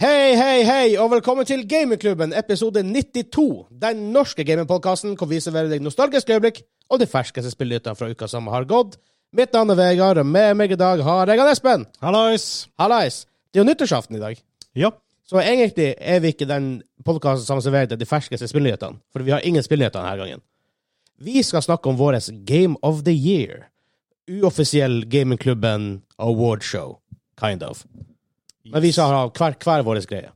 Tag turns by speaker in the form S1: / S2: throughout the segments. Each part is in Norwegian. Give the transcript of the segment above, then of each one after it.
S1: Hei, hei, hei, og velkommen til Gamingklubben, episode 92. Den norske gamingpodkasten hvor vi serverer deg nostalgiske øyeblikk og de ferskeste spillnyhetene fra uka som har gått. Mitt navn er Vegard, og med meg i dag har jeg han Espen.
S2: Hallois!
S1: Hallais. Det er jo nyttårsaften i dag,
S2: Ja.
S1: så egentlig er vi ikke den podkasten som serverer deg de ferskeste spillnyhetene, for vi har ingen spillnyheter denne gangen. Vi skal snakke om vår Game of the Year. Uoffisiell Gamingklubben awardshow, kind of. Men vi skal ha hver, hver vår greie.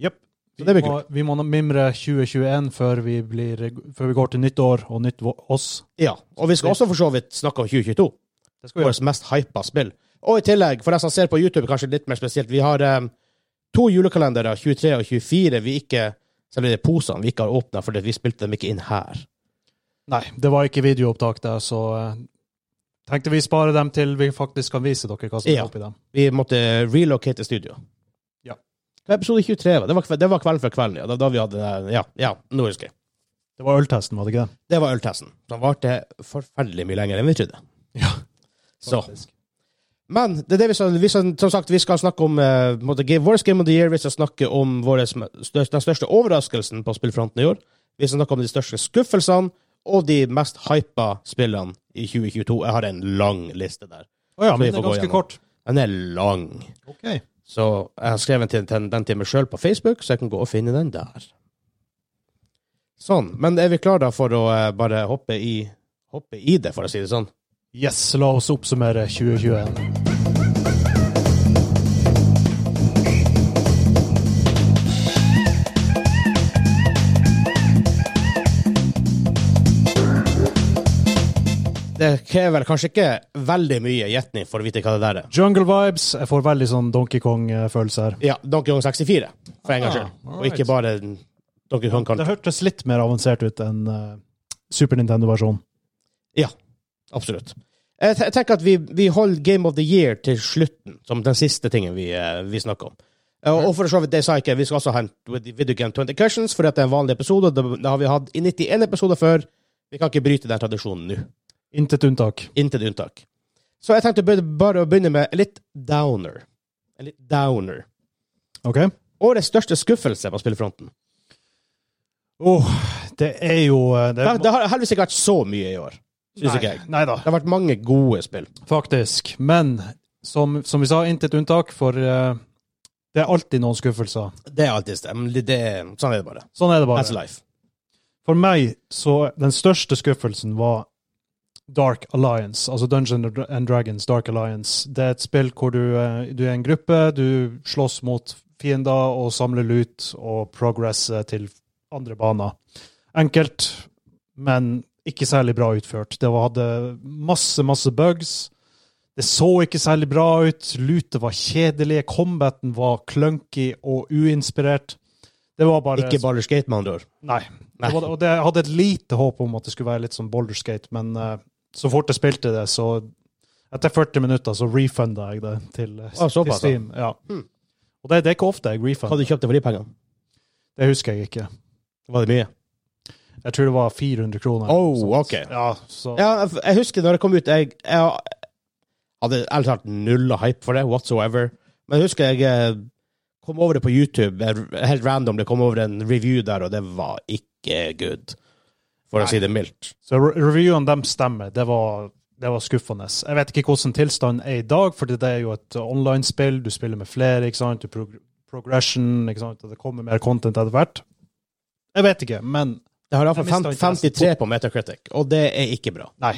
S2: Jepp.
S1: Så det blir
S2: Vi må- Vi må nå mimre 2021 før vi, blir, før vi går til nytt år og nytt vå- oss.
S1: Ja, og vi skal også for så vidt snakke om 2022.
S2: Det skal vi gjøre.
S1: Vårt mest hypa spill. Og i tillegg, for de som ser på YouTube, kanskje litt mer spesielt, vi har eh, to julekalendere, 23 og 24, vi ikke Selv om det er posene vi ikke har åpna fordi vi spilte dem ikke inn her.
S2: Nei, det var ikke videoopptak der, så eh, tenkte vi spare dem til vi faktisk kan vise dere hva som er
S1: Ja.
S2: oppi dem.
S1: Vi måtte relocate studio.
S2: Ja.
S1: Hva episode 23 var det? var kve- Det var kvelden før kvelden, ja. Da, da vi hadde den der- Ja, ja, nå husker jeg.
S2: Det var øltesten, var det ikke det?
S1: Det var øltesten. Den varte forferdelig mye lenger enn vi trodde.
S2: Ja.
S1: Så. Men det er det vi skal, vi skal, som sagt, vi skal snakke om eh, på en måte, Game- vår Game of the Year. Vi skal snakke om våre sm- stør- den største overraskelsen på spillfronten i år. Vi skal snakke om de største skuffelsene og de mest hypa spillene i 2022. Jeg har en lang liste der.
S2: Å ja,
S1: Så vi får
S2: men det er
S1: gå
S2: ganske
S1: gjennom.
S2: kort.
S1: Den er lang.
S2: Ok.
S1: Så jeg har skrevet den til, den til meg sjøl på Facebook, så jeg kan gå og finne den der. Sånn. Men er vi klare da for å eh, bare hoppe i, hoppe i det, for å si det sånn?
S2: Yes, la oss oppsummere 2021.
S1: Det krever kanskje ikke veldig mye gjetning for å vite hva det der er.
S2: Jungle vibes. Jeg får veldig sånn Donkey Kong-følelse her.
S1: Ja, Donkey Kong 64, for en gangs
S2: Ah,
S1: skyld. Og
S2: alright.
S1: ikke bare Donkey Kong
S2: Det
S1: Country.
S2: hørtes litt mer avansert ut enn eh, Super Nintendo-versjonen.
S1: Absolutt. Jeg te- jeg tenker at vi, vi holder Game of the Year til slutten, som den siste tingen vi, eh, vi snakker om. Eh, Og, og for så vidt, det sa jeg ikke, vi skal også ha en vid- Video Game 20 Questions, for dette er en vanlig episode. Det, det har vi hatt i 91 episoder før. Vi kan ikke bryte den tradisjonen nå.
S2: Intet unntak.
S1: Intet unntak. Så jeg tenkte å begynne- bare å begynne med en litt downer. En litt downer.
S2: OK?
S1: Årets største skuffelse på spillefronten.
S2: Åh, det er jo eh, Det,
S1: Det, det har heldigvis ikke vært så mye i år, syns ikke jeg.
S2: Nei da,
S1: Det har vært mange gode spill.
S2: faktisk. Men som, som vi sa, intet unntak, for eh, det er alltid noen skuffelser.
S1: Det er alltid stem. Det, det- sånn er det bare.
S2: Sånn er det
S1: That's
S2: bare.
S1: life.
S2: For meg så den største skuffelsen var Dark Alliance, altså Dungeons and Dragons Dark Alliance. Det er et spill hvor du, eh, du er en gruppe, du slåss mot fiender og samler lut og progresser til andre baner. Enkelt, men ikke særlig bra utført. Det var- hadde masse, masse bugs. Det så ikke særlig bra ut. Lutet var kjedelige. Combaten var clunky og uinspirert. Det var bare
S1: Ikke Ballers Gate, med andre ord.
S2: Nei.
S1: Nei.
S2: Det var, og det, jeg hadde et lite håp om at det skulle være litt som boulderskate, men eh, så fort jeg spilte det, så Etter 40 minutter så refunda jeg det til, eh,
S1: Ah, såpass, ja.
S2: til Steam. Ja.
S1: Hmm.
S2: Og det, det er ikke ofte jeg
S1: Hva
S2: refunder.
S1: du kjøpte for de pengene?
S2: Det husker jeg ikke.
S1: Var det mye?
S2: Jeg tror det var 400 kroner.
S1: Oh,
S2: Så-
S1: ok.
S2: Ja, så
S1: Ja, jeg- jeg husker når det kom ut Jeg, jeg hadde ærlig talt null hype for det whatsoever. Men jeg husker jeg eh, kom over det på YouTube, eh, helt random. Det kom over en review der, og det var ikke good. For å
S2: Nei.
S1: si det mildt.
S2: Så re- reviewene dem stemmer. Det var, det var skuffende. Jeg vet ikke hvordan tilstanden er i dag, for det er jo et online-spill. Du spiller med flere, ikke sant? Du prog progression, ikke sant? Og det kommer mer content etter hvert. Jeg vet ikke, men
S1: Det har iallfall
S2: Jeg mistet
S1: 53 på Metacritic, og det er ikke bra.
S2: nei.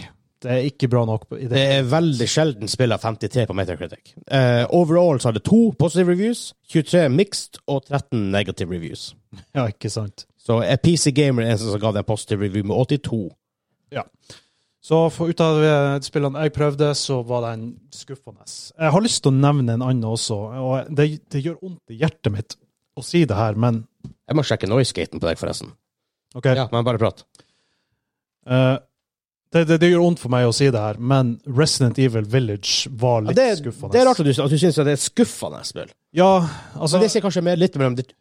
S2: Det er ikke bra nok i
S1: Det
S2: det.
S1: er veldig sjelden spill av 53 på Metacritic. Eh, overall så har det to positive reviews, 23 mixed og 13 negative reviews.
S2: Ja, ikke sant?
S1: Så er PC Gamer den eneste som ga det en positive review med 82.
S2: Så for, ut av eh, spillene jeg prøvde, så var den skuffende. Jeg har lyst til å nevne en annen også, og det, det gjør vondt i hjertet mitt å si det her, men
S1: Jeg må sjekke noisegaten på deg, forresten.
S2: OK.
S1: Ja, men bare prat.
S2: Eh, det, det, det gjør vondt for meg å si det her, men Resident Evil Village var
S1: Ja,
S2: litt
S1: det, er-
S2: skuffende.
S1: det er rart at du, at du syns det er skuffende spill.
S2: Ja,
S1: Så
S2: altså,
S1: det sier kanskje mer litt mellom ditt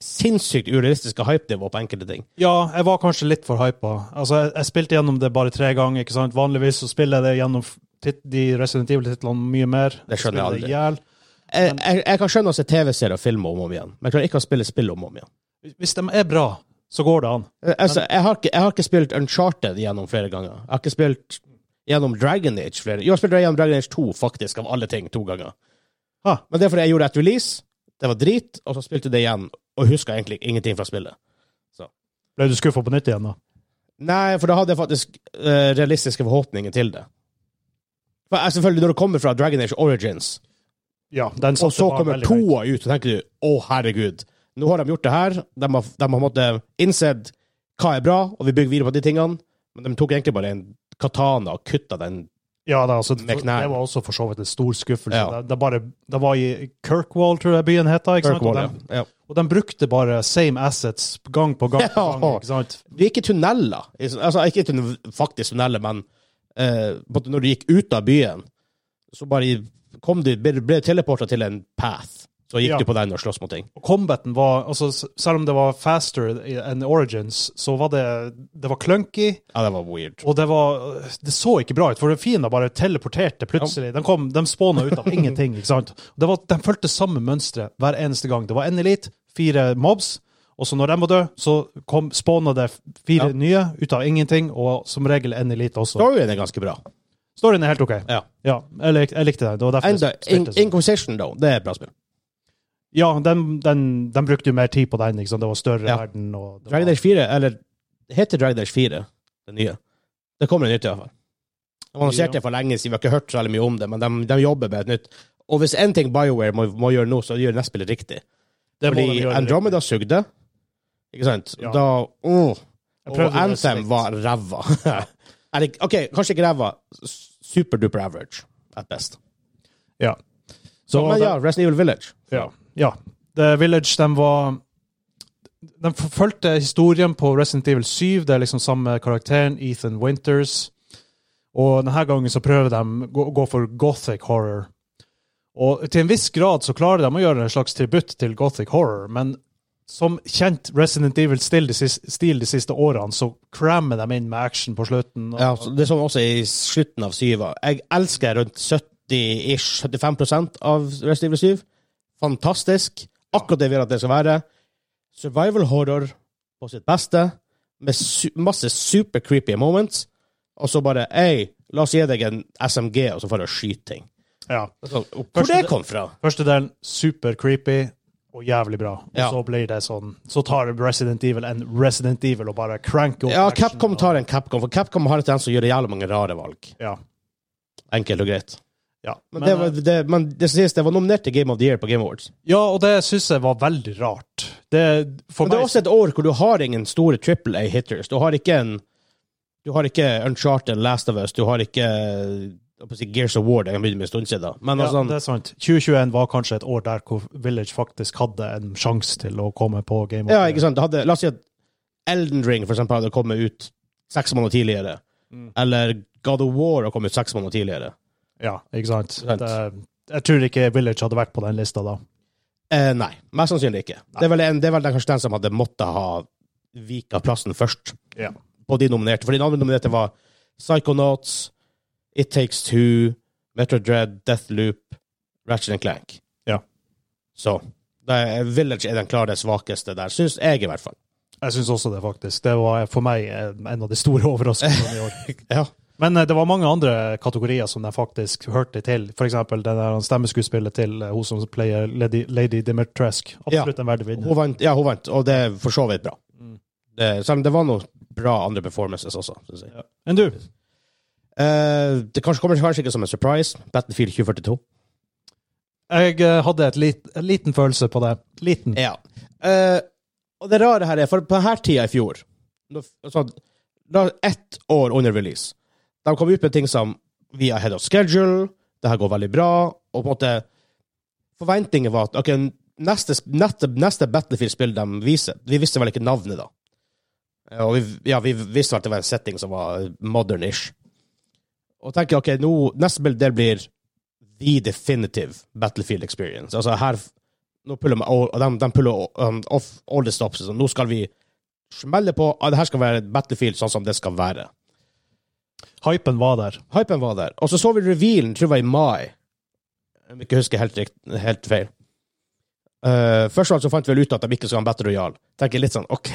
S1: sinnssykt urealistiske hypenivå på enkelte ting.
S2: ja, jeg var kanskje litt for hypa. Altså, jeg, jeg spilte gjennom det bare tre ganger. ikke sant? Vanligvis så spiller jeg det gjennom tit- de Resident Evil-titlene mye mer.
S1: Det skjønner jeg aldri.
S2: Spiller det ihjel.
S1: Jeg, Eh, jeg, jeg kan skjønne å se TV-serier og filmer om og om igjen, men jeg klarer ikke å spille spill om og om igjen.
S2: Hvis de er bra, så går det an.
S1: Eh, Altså, jeg, har ikke, jeg har ikke spilt Uncharted gjennom flere ganger. Jeg har ikke spilt gjennom Dragon Age flere Jo, jeg spilte gjennom Dragon Age 2, faktisk, av alle ting, to ganger.
S2: Ah.
S1: Men det er fordi jeg gjorde et release, det var drit, og så spilte jeg det igjen, og huska egentlig ingenting fra spillet.
S2: Ble du skuffa på nytt igjen, da?
S1: Nei, for da hadde jeg faktisk eh, realistiske forhåpninger til det. For jeg, selvfølgelig, når det kommer fra Dragon Age Origins,
S2: Ja, den
S1: og
S2: satte
S1: så
S2: bare
S1: kommer
S2: veldig høyt.
S1: toa ut, så tenker du å, herregud. Nå har de gjort det her. De har, de har måtte innsett hva er bra, og vi bygger videre på de tingene. Men de tok egentlig bare en katana og kutta den.
S2: Ja, det, er altså,
S1: Med knærne.
S2: det var også for så vidt en stor skuffelse.
S1: Ja.
S2: Det, det, bare, det var i Kirkwall, tror jeg byen het. Ikke sant?
S1: Kirkwall,
S2: og, de,
S1: ja. Ja.
S2: og de brukte bare same assets gang på gang. på
S1: Ja.
S2: gang ikke sant?
S1: Det gikk i tunneler. I sånn- Altså, ikke tunn- faktisk tunneler, men eh, på en måte når du gikk ut av byen, så bare kom du, ble, ble teleporta til en path. Så gikk
S2: Ja.
S1: du på den og sloss mot ting.
S2: Og combaten var altså, s- Selv om det var faster i- enn Origins, så var det det var clunky,
S1: Ja, det var weird.
S2: og det var det så ikke bra ut. For fiendene bare teleporterte plutselig. De, kom, de spåna ut av ingenting. ikke sant? Det var, de fulgte samme mønsteret hver eneste gang. Det var en elite, fire mobs. Og så når de var døde, så kom, spåna det fire
S1: Ja.
S2: nye ut av ingenting, og som regel en elite også.
S1: Storyen er ganske bra.
S2: Storyen er helt OK.
S1: Ja.
S2: Ja, jeg, lik, jeg likte den. Det var derfor jeg
S1: Enda,
S2: spilte
S1: In
S2: sånn.
S1: Inquisition, da. Det er et bra spill.
S2: Ja, den, den, den brukte jo mer tid på den. ikke sant? Det var større
S1: Ja.
S2: verden. og... det
S1: Dragon
S2: var-
S1: Age 4, eller det heter Dragon Age 4, det nye. Det kommer et nytt i hvert fall. De annonserte det for lenge siden, vi har ikke hørt så veldig mye om det, men de, de jobber med et nytt. Og hvis én ting BioWare må, må gjøre nå, så gjør de nettspillet riktig.
S2: Det må de
S1: Fordi
S2: gjøre
S1: Andromeda sugde, ikke sant?
S2: Ja.
S1: Da, åh.
S2: Jeg prøvde
S1: Og
S2: det
S1: Anthem
S2: strikt.
S1: var ræva. Er det- OK, kanskje ikke ræva. s- Superduper average, at best.
S2: riktig. Ja. Så,
S1: men ja, Resident Evil Village.
S2: Ja. ja. The Village, de var De fulgte historien på Resident Evil 7. Det er liksom samme karakteren, Ethan Winters. Og denne gangen så prøver de å gå- gå for gothic horror. Og til en viss grad så klarer de å gjøre en slags tributt til gothic horror, men som kjent Resident Evil-stil de, sis- stil de siste årene, så crammer de inn med action på slutten. Og,
S1: Ja, så det er sånn også i slutten av syva. Jeg elsker rundt 70-ish, 75 av Resident Evil 7. Fantastisk. Akkurat det vi vil at det skal være. Survival horror på sitt beste, med su masse super creepy moments, og så bare Ei, la oss gi deg en SMG, og så får du skyte ting.
S2: ja.
S1: Det er sånn, Hvor det kom fra?
S2: Altså, Første delen super creepy og jævlig bra. Og
S1: Ja.
S2: så blir det sånn Så tar Resident Evil en Resident Evil og bare cranker opp
S1: Ja,
S2: action
S1: Capcom
S2: og-
S1: tar en Capcom, for Capcom har en tendens til å gjøre jævlig mange rare valg.
S2: Ja.
S1: Enkelt og greit.
S2: ja.
S1: Men, det, var, det, men det som sies, det var nominert til Game of the Year på Game Awards.
S2: eh, ja, og det syns jeg var veldig rart. Det, for
S1: Men det
S2: meg
S1: er også et år hvor du har ingen store triple A-hitters. Du har ikke en Du har ikke Uncharted, Last of Us, du har ikke jeg holdt på å si Gears of War, det kan begynne med en stund siden. Men
S2: ja,
S1: altså,
S2: det er sant. 2021 var kanskje et år der hvor Village faktisk hadde en sjanse til å komme på Game of
S1: ja,
S2: the
S1: ikke
S2: Year.
S1: sant? det Hadde, la oss si at Elden Ring for eksempel, hadde kommet ut seks måneder tidligere.
S2: Mm.
S1: Eller God of War hadde kommet ut seks måneder tidligere.
S2: Ja, ikke sant?
S1: Sant.
S2: Det, jeg tror ikke Village hadde vært på den lista da.
S1: Eh, nei, mest sannsynlig ikke.
S2: Nei.
S1: Det er vel, en, det er vel den, kanskje den som hadde måttet ha vika plassen først.
S2: Ja.
S1: på de nominerte. For de andre nominerte var Psychonauts, It Takes Two, Metro Dread, Deathloop, Ratchet and Clank.
S2: Ja.
S1: Så det er, Village er den klare svakeste der, syns jeg i hvert fall.
S2: Jeg syns også det, faktisk. Det var for meg en en av de store overraskelsene i år.
S1: Ja.
S2: Men eh, det var mange andre kategorier som de faktisk hørte til. F.eks. det der stemmeskuespillet til eh, hun som player Lady, Lady Dimitrescu. Absolutt en verdig vinner.
S1: Hun vant, ja, hun vant, og det er for så vidt bra.
S2: Mm.
S1: Det, selv om det var noen bra andre performances også, syns jeg.
S2: Ja. Enn du?
S1: Eh, det kanskje kommer kanskje ikke som en surprise. Battlefield 2042.
S2: Jeg eh, hadde et lit, en liten følelse på det. Liten.
S1: Ja. Eh, og det rare her er, for på denne tida i fjor, nå- altså, da ett år under release, de kom ut med ting som vi er ahead of schedule, det her går veldig bra, og på en måte forventningen var at ok, neste, neste, neste Battlefield-spill de viser, vi visste vel ikke navnet da. Eh, Og vi, ja, vi visste vel at det var en setting som var modern-ish. Og tenker ok, nå, neste spill det blir the definitive Battlefield experience. Altså her nå puller man, og de, de puller um, off all the stops. Så nå skal vi smelle på. ah, Det her skal være et Battlefield sånn som det skal være.
S2: Hypen var der.
S1: Hypen var der. Og så så vi revealen, tror jeg, i mai. om jeg ikke husker helt, rikt- helt feil. Eh, først av alt så fant vi vel ut at de ikke skulle ha en Battle Royale. Tenker litt sånn, OK.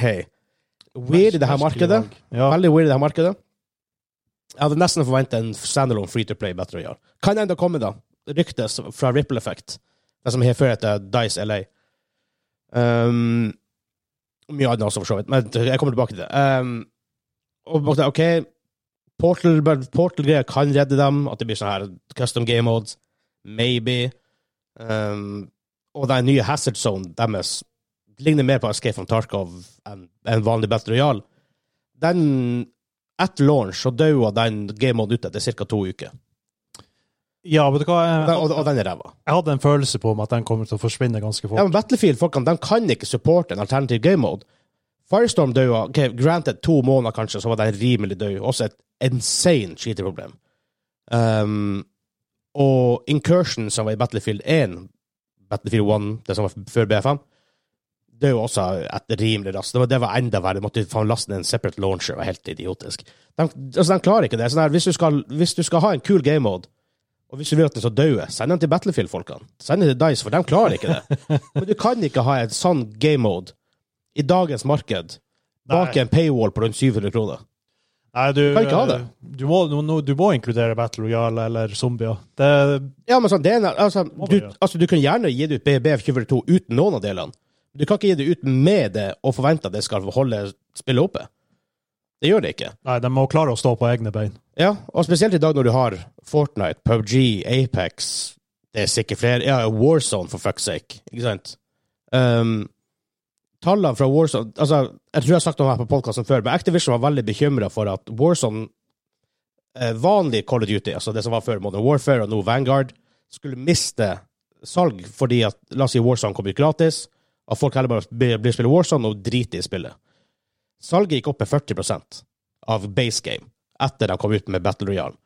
S1: Weird i det her markedet.
S2: Ja.
S1: Veldig weird i det her markedet. Jeg hadde nesten forventa en standalone free to play Battle Royale. Kan enda komme, da. Ryktes fra Ripple Effect, det som har før heter Dice LA. Um, mye annet også, for så vidt, men jeg kommer tilbake til det. Um, og bare, OK, Portal- Portal-greier kan redde dem, at det blir sånn her custom game modes. Maybe. Um, og den nye Hazard Zone deres ligner mer på Escape from Tarkov enn enn vanlig Battle Royale den etter launch så daua den gamemoden ut etter ca. to uker.
S2: ja, vet du hva?
S1: Og den,
S2: Jeg,
S1: og, og den er ræva.
S2: jeg hadde en følelse på om at den kommer til å forsvinne ganske
S1: Ja,
S2: fort.
S1: men Battlefield folkene, de kan ikke supporte en alternativ gamemode. Firestorm daua ok, granted to måneder, kanskje, så var den rimelig død. Også et insane cheaterproblem. Um, og Incursion, som var i Battlefield 1, Battlefield 1, det som var f- før BFM, det er jo også et rimelig raskt. Det var, det var enda verre. De Måtte faen laste ned en separate launcher. Det var helt idiotisk. De, altså, de klarer ikke det. Sånn her, hvis, du skal, hvis du skal ha en kul game mode, og hvis du vil at den skal dø, send den til Battlefield-folkene. Send den til Dice, for de klarer ikke det. Men du kan ikke ha en sånn game mode i dagens marked bak
S2: Nei.
S1: en paywall på rundt 700 kroner.
S2: Nei, du, eh,
S1: Kan ikke ha det.
S2: Du må, du, må- du må inkludere Battle Royale eller zombier. Det,
S1: Ja, men sånn, det er, en- altså, du,
S2: ja.
S1: altså, du kan gjerne gi det ut BB442 uten noen av delene. Du kan ikke gi det ut med det og forvente at det skal holde spillet oppe. Det gjør det ikke.
S2: nei, de må klare å stå på egne bein.
S1: Ja, og spesielt i dag når du har Fortnite, PubG, Apex Det er sikkert flere. Ja, Warzone, for fuck's sake. Ikke sant? Um, tallene fra Warzone altså, Jeg tror jeg har sagt noe her på podkasten før, men Activision var veldig bekymra for at Warzone eh, Vanlig Call of Duty, altså det som var før Modern Warfare og nå Vanguard, skulle miste salg fordi at La oss si Warzone kom ut gratis, at folk heller bare blir blir spille Warzone og driter i spillet. Salget gikk opp med 40 av base game etter de kom ut med Battle Royale.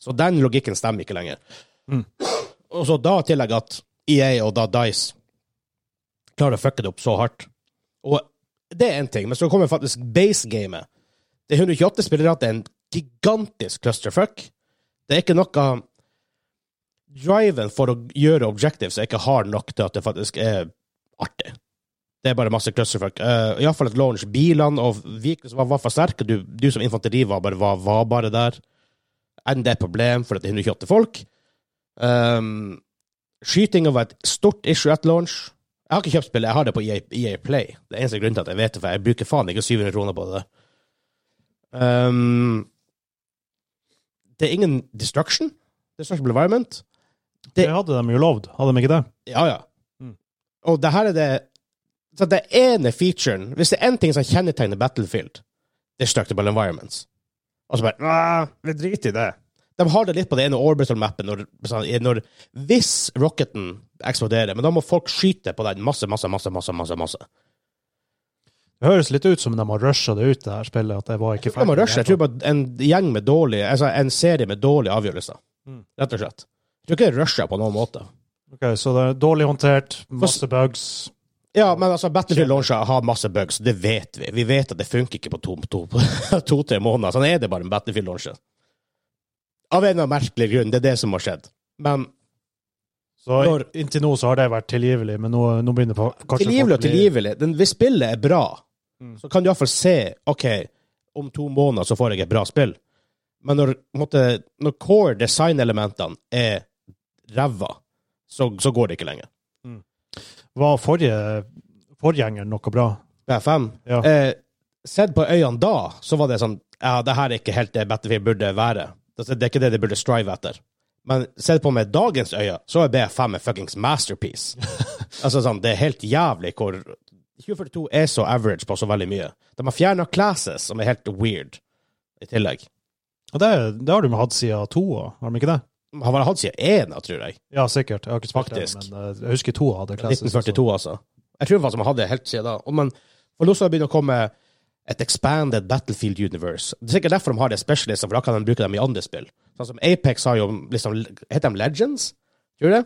S1: Så den logikken stemmer ikke lenger.
S2: Mm.
S1: Og så da tillegg at EA og da Dice klarer å fucke det opp så hardt. Og det er én ting, men så kommer faktisk base-gamet. Det er 128 spillere, det er en gigantisk clusterfuck. Det er ikke noe Driven for å gjøre objectives er ikke hard nok til at det faktisk er artig. Det er bare masse clusterfuck. Uh, Iallfall et launch. Bilene og Viken som var, var for sterke. Du, du som infanteri var bare, var, var bare der. Enn det er et problem, for at det er 128 folk. Um, Skytinga var et stort issue at launch. Jeg har ikke kjøpt spillet, jeg har det på E EA, EA Play. Det er eneste grunnen til at jeg vet det, for jeg bruker faen ikke 700 kroner på det. Um, det er ingen destruction. Destruction environment. Det-
S2: Det hadde de jo lovd, hadde de ikke det?
S1: Ja, ja.
S2: Mm.
S1: Og det her er det så Det ene featuren Hvis det er én ting som kjennetegner Battlefield, det er Structable Environments. Og så bare «Ah, Vi driter i det. De har det litt på det ene orbital-mappen når, sånn, når Hvis rocketen eksploderer, men da må folk skyte på den masse, masse, masse, masse. masse, masse.
S2: Det høres litt ut som de har rusha det ut, det her spillet. At det var ikke
S1: Jeg, må rushe. jeg tror
S2: ferdig.
S1: bare en gjeng med dårlig Altså en serie med dårlige avgjørelser.
S2: Mm.
S1: Rett og slett. Jeg tror ikke det rusher på noen måte.
S2: Ok, så det er dårlig håndtert, masse bugs.
S1: Ja, men altså, Battlefield Launcher har masse bugs, det vet vi. Vi vet at det funker ikke på to-tre to, to, tre måneder. Sånn er det bare med Battlefield Launcher. Av en eller annen merkelig grunn. Det er det som har skjedd. Men
S2: Så
S1: Når-
S2: inntil nå så har det vært tilgivelig, men nå, nå begynner det kanskje
S1: tilgivelig og tilgivelig. Den, hvis spillet er bra,
S2: Mm.
S1: så kan du iallfall se OK, om to måneder så får jeg et bra spill. Men når, på en måte, når core design-elementene er ræva, så, så går det ikke lenger.
S2: Var forrige forgjengeren noe bra?
S1: BFM.
S2: Ja.
S1: Eh, sett på øynene da, så var det sånn Ja, det her er ikke helt det Battlefield burde være. Det det er ikke det de burde strive etter. Men sett på med dagens øyne, så er BFM en fuckings masterpiece. altså sånn, Det er helt jævlig hvor 2042 er så average på så veldig mye. De har fjerna classes, som er helt weird, i tillegg.
S2: Og det, det har de hatt siden toa, har de ikke det?
S1: De Har vel hatt siden én, tror jeg.
S2: Ja, sikkert. Jeg har ikke spilt det,
S1: Faktisk.
S2: men eh, jeg husker toa hadde classes.
S1: 1942, altså. Jeg tror faktisk man hadde det helt siden da. Og, men for nå skal det begynne å komme et expanded Battlefield Universe. Det er sikkert derfor de har det specialist, for da kan de bruke dem i andre spill. Sånn som Apex har jo liksom Heter de Legends? Tror du det?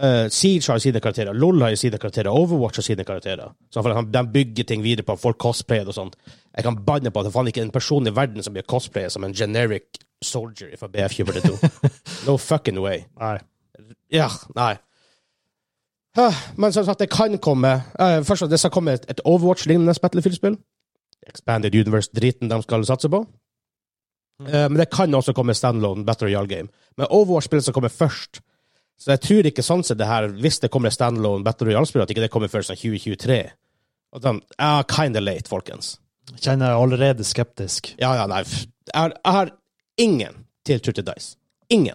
S1: Eh, Siege har jo sine karakterer, LOL har jo sine karakterer, Overwatch har sine karakterer. Så for at De bygger ting videre på at folk cosplayer og sånt. Jeg kan banne på at det faen ikke er en person i verden som blir cosplayer som en generic soldier fra BF-22. no fucking way
S2: Nei.
S1: Ja, nei. Hæ, Men som sagt, det kan komme eh, Først og fremst, det skal komme et, et Overwatch-lignende Battlefield-spill. Expanded Universe-driten de skal satse på. Eh, men det kan også komme standalone Battle Royale Game. Men Overwatch-spillet skal komme først. Så jeg tror ikke sånn sett det her, hvis det kommer et standalone Battle Royale-spill, at ikke det kommer først i 2023. Og de, ja, kinda late, folkens.
S2: Kjenner jeg allerede skeptisk.
S1: Ja, ja, nei. f- Jeg har, jeg har ingen tiltro til Dice. Ingen.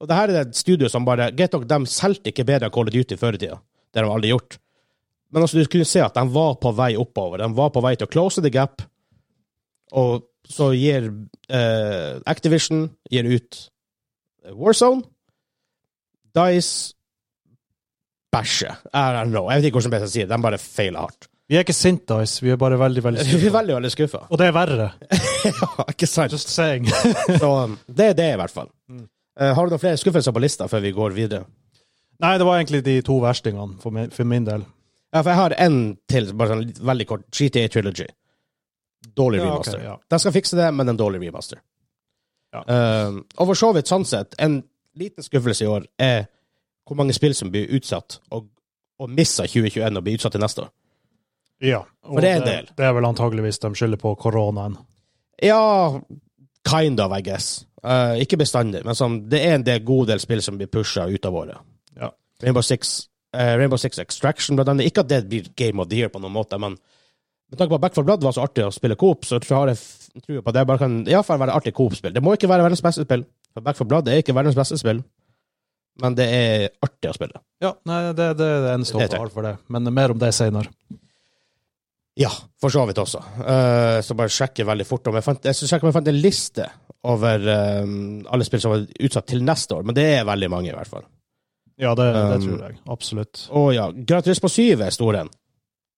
S1: Og det her er et studio som bare Get Dog, de solgte ikke bedre enn Call of Duty før i tida. Det har de aldri gjort. Men altså, du kunne se at de var på vei oppover. De var på vei til å close the gap. Og så gir eh, Activision gir ut eh, Warzone. Dice bæsjer. I don't know. Jeg vet ikke hvordan jeg skal si det. De bare feiler hardt.
S2: Vi er ikke sint, Dice. Vi er bare veldig, veldig
S1: Vi er
S2: skuffa.
S1: veldig, veldig skuffa.
S2: Og det er verre.
S1: ikke sant?
S2: Just saying.
S1: Så um, det er det, i hvert fall.
S2: Mm.
S1: Eh, har du noen flere skuffelser på lista før vi går videre?
S2: Nei, det var egentlig de to verstingene for min, for min del.
S1: Ja, for jeg har en til, bare sånn litt- veldig kort. GTA Trilogy. Dårlig
S2: Ja, ok,
S1: remaster.
S2: ja.
S1: De skal fikse det, men en dårlig remaster.
S2: Ja.
S1: Um, og for så vidt, sånn sett, en liten skuffelse i år er hvor mange spill som blir utsatt, og, og misser 2021 og blir utsatt til neste år.
S2: Ja. Og
S1: For det er en del.
S2: Det, er vel antageligvis de skylder på koronaen.
S1: Ja, kind of, I guess. Eh, ikke bestandig, men sånn, det er en del god del spill som blir pusha ut av året.
S2: Ja.
S1: Rainbow Six, eh, Rainbow Six Extraction, blant annet. Ikke at det blir Game of the Year på noen måte, men med tanke på at Back 4 Blood var så artig å spille coop, så tror jeg har jeg f- trua på at det. Bare kan i hvert fall være artig coop-spill. Det må ikke være verdens beste spill, for Back 4 Blood er ikke verdens beste spill, men det er artig å spille.
S2: Ja, nei, det, det er det eneste
S1: Det er
S2: håpet jeg har for det. Men mer om det senere.
S1: Ja, for så vidt også. Eh, så bare sjekke veldig fort om jeg fant, jeg skal sjekke om jeg fant en liste over eh, alle spill som var utsatt til neste år, men det er veldig mange, i hvert fall.
S2: Ja, det, det
S1: Um,
S2: tror jeg. Absolutt.
S1: Å ja. Gran Turismo 7 er stor en.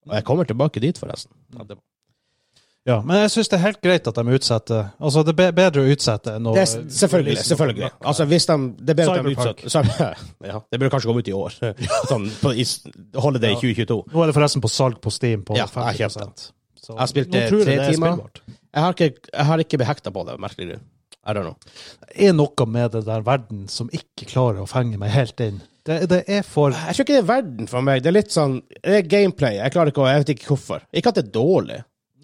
S1: Og jeg kommer tilbake dit, forresten. Ja, det,
S2: Ja, men jeg syns det er helt greit at de utsetter. Altså, det er be- bedre å utsette enn å Liksom-
S1: det er, s- selvfølgelig. selvfølgelig. Altså, hvis de, det er bedre at de
S2: Cyberpunk.
S1: utsatt Cy- ja, Det burde kanskje komme ut i år. Sånn, på, i, s- holiday
S2: Ja.
S1: 2022.
S2: Nå er det forresten på salg på Steam på
S1: Ja, jeg
S2: 50
S1: kjøpte
S2: Så
S1: Jeg har spilt
S2: nå
S1: det
S2: tror
S1: tre
S2: det er
S1: timer.
S2: spillbart.
S1: Jeg har ikke, jeg har ikke behekta på det, merkelig nok. I don't know.
S2: Det er noe med det der verden som ikke klarer å fenge meg helt inn. Det, det er for
S1: Jeg tror ikke det er verden for meg. Det er litt sånn Det er gameplay. Jeg klarer ikke å Jeg vet ikke hvorfor. Ikke at det er dårlig.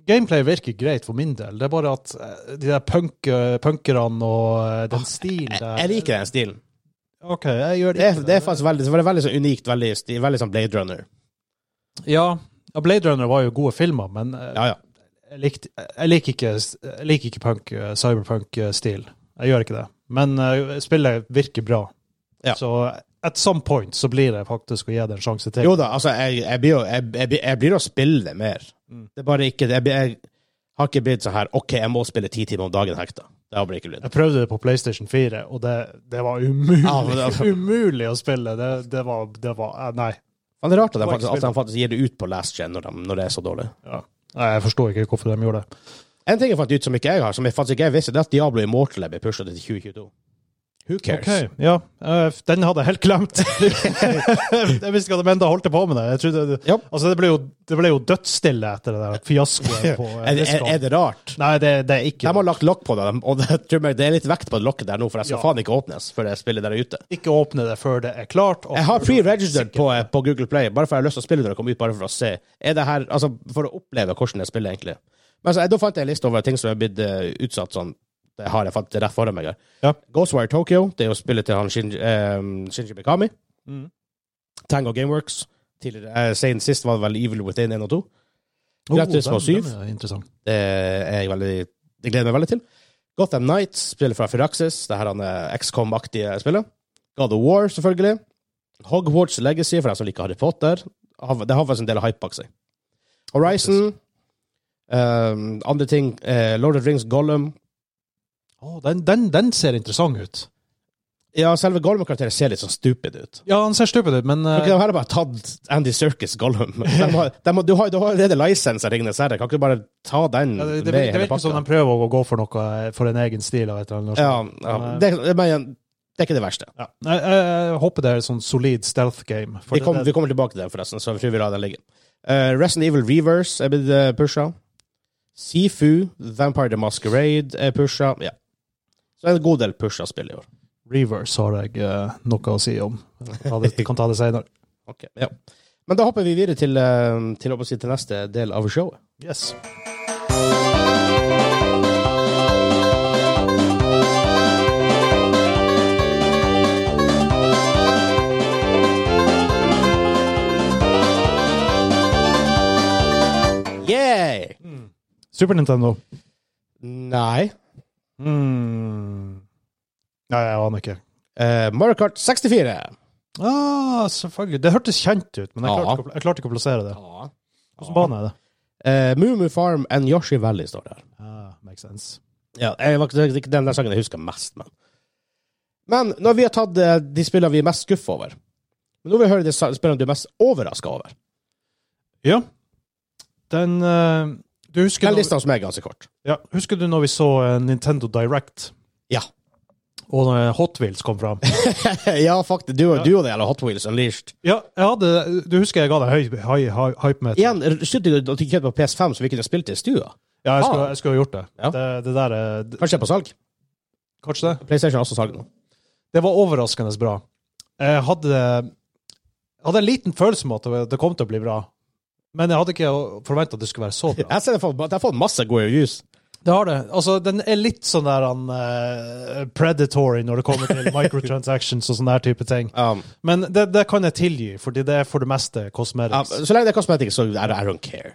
S2: Gameplay virker greit for min del. Det er bare at eh, de der punk, punkerne og eh, den stilen
S1: Jeg,
S2: der
S1: jeg liker den stilen.
S2: OK, jeg gjør
S1: Det
S2: det
S1: er, det er faktisk veldig, det var veldig sånn unikt. Veldig, sti- veldig sånn Blade Runner.
S2: Ja, ja, Blade Runner var jo gode filmer, men eh,
S1: Ja, ja.
S2: jeg, likte, jeg liker ikke, jeg liker ikke punk, eh, cyberpunk-stil. Jeg gjør ikke det. Men eh, spillet virker bra.
S1: Ja.
S2: Så at some point så blir det faktisk å gi det en sjanse til.
S1: Jo da, altså, jeg, jeg blir jo jeg, jeg, blir- jeg blir å spille det mer.
S2: Mm.
S1: Det er bare ikke Jeg, blir- jeg har ikke blitt sånn her OK, jeg må spille ti timer om dagen hekta. Det har bare ikke blitt.
S2: Jeg prøvde det på PlayStation 4, og det, det var umulig,
S1: Ja, men det-
S2: umulig å spille. Det, det var, det var eh, Nei.
S1: Men det er rart at de
S2: Det var ikke
S1: faktisk, at de faktisk gir det ut på last gen når, de, når det er så dårlig.
S2: Ja. Nei, Jeg forstår ikke hvorfor de gjorde det.
S1: En ting jeg fant ut som ikke jeg har, som jeg faktisk ikke jeg visste, det er at Diablo Immortal er blitt pusha til 2022. Who cares?
S2: Ok, ja. eh, Den hadde jeg helt glemt. jeg visste ikke at de enda holdt på med det. Jeg trodde, det-
S1: Ja.
S2: altså, det, ble jo, det ble jo dødsstille etter det der fiaskoet på eh,
S1: Er, det- er,
S2: Discord.
S1: er det rart?
S2: Nei, det, det er
S1: De
S2: ikke
S1: har lagt lokk på dem, og det, tror jeg, det er litt vekt på det lokket der nå, for jeg skal
S2: Ja.
S1: faen ikke åpnes før jeg spiller der ute.
S2: Ikke åpne det før det er klart. og
S1: Jeg har
S2: før du-
S1: pre-registered på, på Google Play, bare for jeg har lyst til å spille når det kommer ut, bare for å se. Er det her, altså, for å oppleve hvordan jeg spiller, egentlig. Men altså, jeg- da fant jeg en liste over ting som er blitt eh, utsatt sånn. Det har jeg fant rett foran meg her.
S2: Ja.
S1: Ghostwire Tokyo, det er jo spillet til han Shinji, eh, Shinji Mikami.
S2: Mm.
S1: Tango Gameworks. Tidligere, eh, Sen sist var det vel Evil Within 1 og 2.
S2: Oh,
S1: Gran Turismo
S2: den-
S1: 7.
S2: den er Interessant.
S1: Det er jeg veldig Det gleder jeg meg veldig til. Gotham Knights, spiller fra Firaxis. Det her han er XCOM-aktige spillet. God of War, selvfølgelig. Hogwarts Legacy, for dem som liker Harry Potter. Har- Det har faktisk en del hype bak seg. Horizon. Um, andre ting eh, Lord of the Rings Gollum.
S2: Å, den, den, den ser interessant ut.
S1: Ja, selve Gollum-karakteren ser litt sånn stupid ut.
S2: Ja, han ser stupid ut, men eh,
S1: Kan ikke de her bare tatt Andy Circus Gollum? De har, de har, du har du har allerede lisens av Ringenes herre, kan ikke du bare ta den
S2: ja, det, det,
S1: med i
S2: det
S1: hele
S2: virker som
S1: pakka?
S2: de prøver å gå for noe eh, for en egen stil. av et eller annet.
S1: Ja, ja. Det, men, det er ikke det verste.
S2: Ja. Jeg, jeg, jeg håper det er et sånn solid stealth game. for
S1: Vi,
S2: det-
S1: kom,
S2: det-
S1: vi kommer tilbake til den, forresten, så jeg tror vi lar den ligge. Uh, Resident Evil Reverse er blitt uh, pusha. Sifu, Vampire the Masquerade er pusha. Ja. Så en god del pusha spill i år.
S2: Reverse har jeg eh, noe å si om. Jeg kan ta det- kan ta det senere.
S1: Ok, ja. Men da hopper vi videre til, eh, til, å si, til neste del av showet.
S2: Yes.
S1: Yeah!
S2: Super Nintendo.
S1: Nei.
S2: Mm. Nei, jeg aner ikke.
S1: Eh, Mario Kart 64.
S2: Ah, selvfølgelig. Det hørtes kjent ut, men jeg
S1: Ja.
S2: klarte, ikke å pla- jeg klarte ikke å plassere det.
S1: Ja.
S2: Hvilken bane er det?
S1: Eh, Moomoo Farm and Yoshi Valley står der.
S2: Ah, makes sense.
S1: Ja, jeg var ikke- det er ikke den der sangen jeg husker mest, men Men når vi har tatt eh, de spillene vi er mest skuffa over Men Nå vil jeg høre de sa- spillene du er mest overraska over.
S2: Ja. Den eh, du husker,
S1: Den
S2: når,
S1: lista som er ganske kort.
S2: ja, husker du når vi så eh, Nintendo Direct?
S1: Ja.
S2: Og når Hot Wheels kom fram?
S1: ja, faktisk. Du, du og det gjelder Hot Wheels Unleashed.
S2: ja, jeg hadde, du husker jeg ga deg høy, høy, høy hype-meter?
S1: Igjen, slutt å ikke kjøpe på PS5 som vi kunne spilt i stua.
S2: Ja, jeg skulle,
S1: Ah.
S2: jeg skulle ha gjort det.
S1: Ja.
S2: Det, det der er d-
S1: Kanskje det er på salg.
S2: Kanskje det?
S1: PlayStation har også salg nå.
S2: Det var overraskende bra. Jeg hadde, jeg hadde en liten følelse om at det- det kom til å bli bra, men jeg hadde ikke forventa at det skulle være så bra.
S1: Jeg ser det for, at jeg har fått masse gode reviews.
S2: Det har det. Altså, den er litt sånn der han, eh, predatory når det kommer til microtransactions og sånne der type ting.
S1: Um,
S2: Men det, det kan jeg tilgi, fordi det er for det meste
S1: um,
S2: cosmetics.
S1: så lenge det er kosmetikk, så I, I don't care.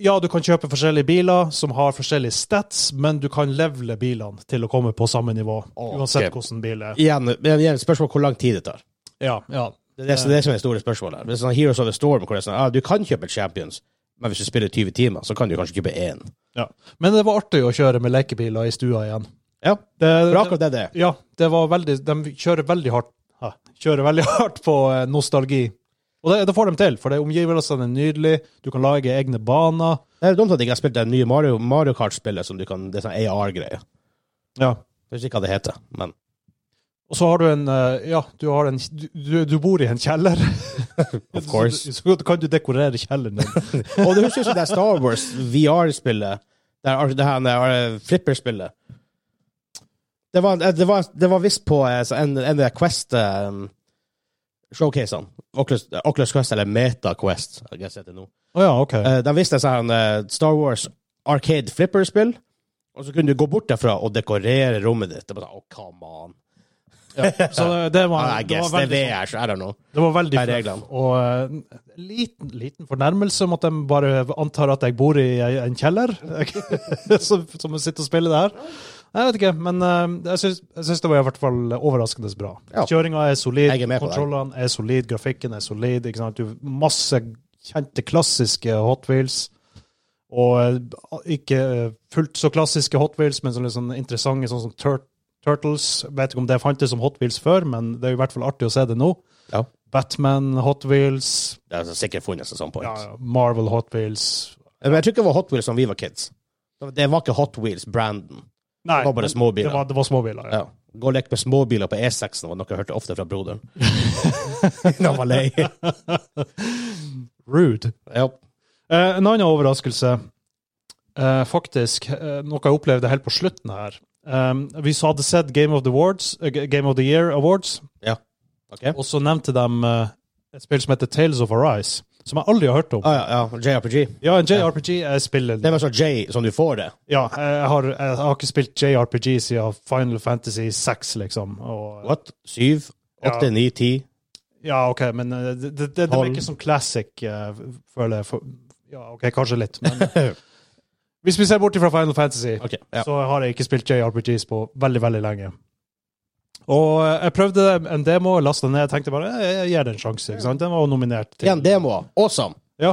S2: Ja, du kan kjøpe forskjellige biler som har forskjellige stats, men du kan levele bilene til å komme på samme nivå,
S1: Ok.
S2: uansett hvordan bil det er.
S1: Igjen, men igjen spørsmål hvor lang tid det tar.
S2: Ja, ja.
S1: Det er det, som- det som er det store spørsmålet. her. Det er sånn Heroes of the Storm, hvor det er sånn, ah, du kan kjøpe Champions, men hvis du spiller 20 timer, så kan du kanskje kjøpe én.
S2: ja. Men det var artig å kjøre med lekebiler i stua igjen.
S1: Ja, for
S2: Det,
S1: akkurat det er det.
S2: Ja, det var veldig De kjører veldig hardt ja, Kjører veldig hardt på eh, nostalgi. Og det, det får de til, for det omgivelsene er nydelige. Du kan lage egne baner.
S1: Det er dumt at jeg ikke har spilt det nye Mario, Mario Kart-spillet som du kan, det er sånn AR-greie.
S2: Ja.
S1: Jeg husker ikke hva det heter, men
S2: Og så har du en eh, Ja, du har en Du, du- du bor i en kjeller.
S1: of course.
S2: Så, så kan du dekorere kjelleren din.
S1: Og du husker jo det der Star Wars VR-spillet, det, her- det her eh, flipper-spillet. Det var, det, var, det var visst på eh, så en, en av de Quest-showcasene. Oculus, Oculus Quest, eller Meta Quest, jeg guess det heter nå.
S2: Å ja, OK.
S1: Eh, De viste seg en eh, Star Wars Arcade Flipper-spill, og så kunne du gå bort derfra og dekorere rommet ditt. Det var sånn, oh, come on.
S2: Så det, det var,
S1: I
S2: det
S1: guess,
S2: var
S1: det er
S2: veldig, sånn.
S1: VR, så I don't know.
S2: det var veldig
S1: Det er reglene.
S2: Og eh, liten, liten fornærmelse om at de bare antar at jeg bor i ei- en kjeller, som, som sitter og spiller det her. Jeg vet ikke, men eh, jeg syns- jeg syns det var i hvert fall overraskende bra.
S1: Ja.
S2: Kjøringa er solid,
S1: Jeg er med på det.
S2: kontrollene er solid, grafikken er solid. Ikke sant? Du, masse kjente klassiske Hot Wheels. Og eh, ikke eh, fullt så klassiske Hot Wheels, men sånne, sånne interessante sånn som Tur Turtles. Vet ikke om det fantes som Hot Wheels før, men det er i hvert fall artig å se det nå.
S1: Ja.
S2: Batman, Hot Wheels,
S1: Det har sikkert funnes en sånn point.
S2: ja, ja, Marvel Hot Wheels
S1: Men jeg tror ikke det var Hot Wheels da vi var kids. Det var ikke Hot Wheels-branden.
S2: Nei,
S1: Det var bare småbiler.
S2: Det var, det var småbiler, ja.
S1: Ja. Gå og leke med småbiler på E6 var noe jeg hørte ofte fra broderen. Når han var lei.
S2: Rude.
S1: Ja.
S2: Eh, en annen overraskelse, eh, faktisk, eh, noe jeg opplevde helt på slutten her. Um, vi så hadde sett Game of the, Awards, eh, Game of the Year Awards,
S1: Ok.
S2: og så nevnte de eh, et spill som heter Tales of Arise, som jeg aldri har hørt om.
S1: Ah, ja, ja. JRPG.
S2: Ja, en JRPG jeg spiller
S1: Det var sånn J som du får det.
S2: Ja, jeg har, jeg har ikke spilt JRPG siden Final Fantasy 6, liksom. Og,
S1: What? Syv? Åtte?
S2: Ja.
S1: Ni? Ti?
S2: Ja, OK, men eh, det, det, det, det er ikke sånn classic, eh, føler jeg. For, ja, OK, kanskje litt, men Hvis vi ser bort fra Final Fantasy,
S1: Ok. Ja.
S2: så har jeg ikke spilt JRPGs på veldig, veldig lenge. Og eh, jeg prøvde en demo, lasta ned, tenkte bare eh, jeg gir det en sjanse. ikke sant? Den var jo nominert til
S1: Igjen demoer. Awesome.
S2: Ja,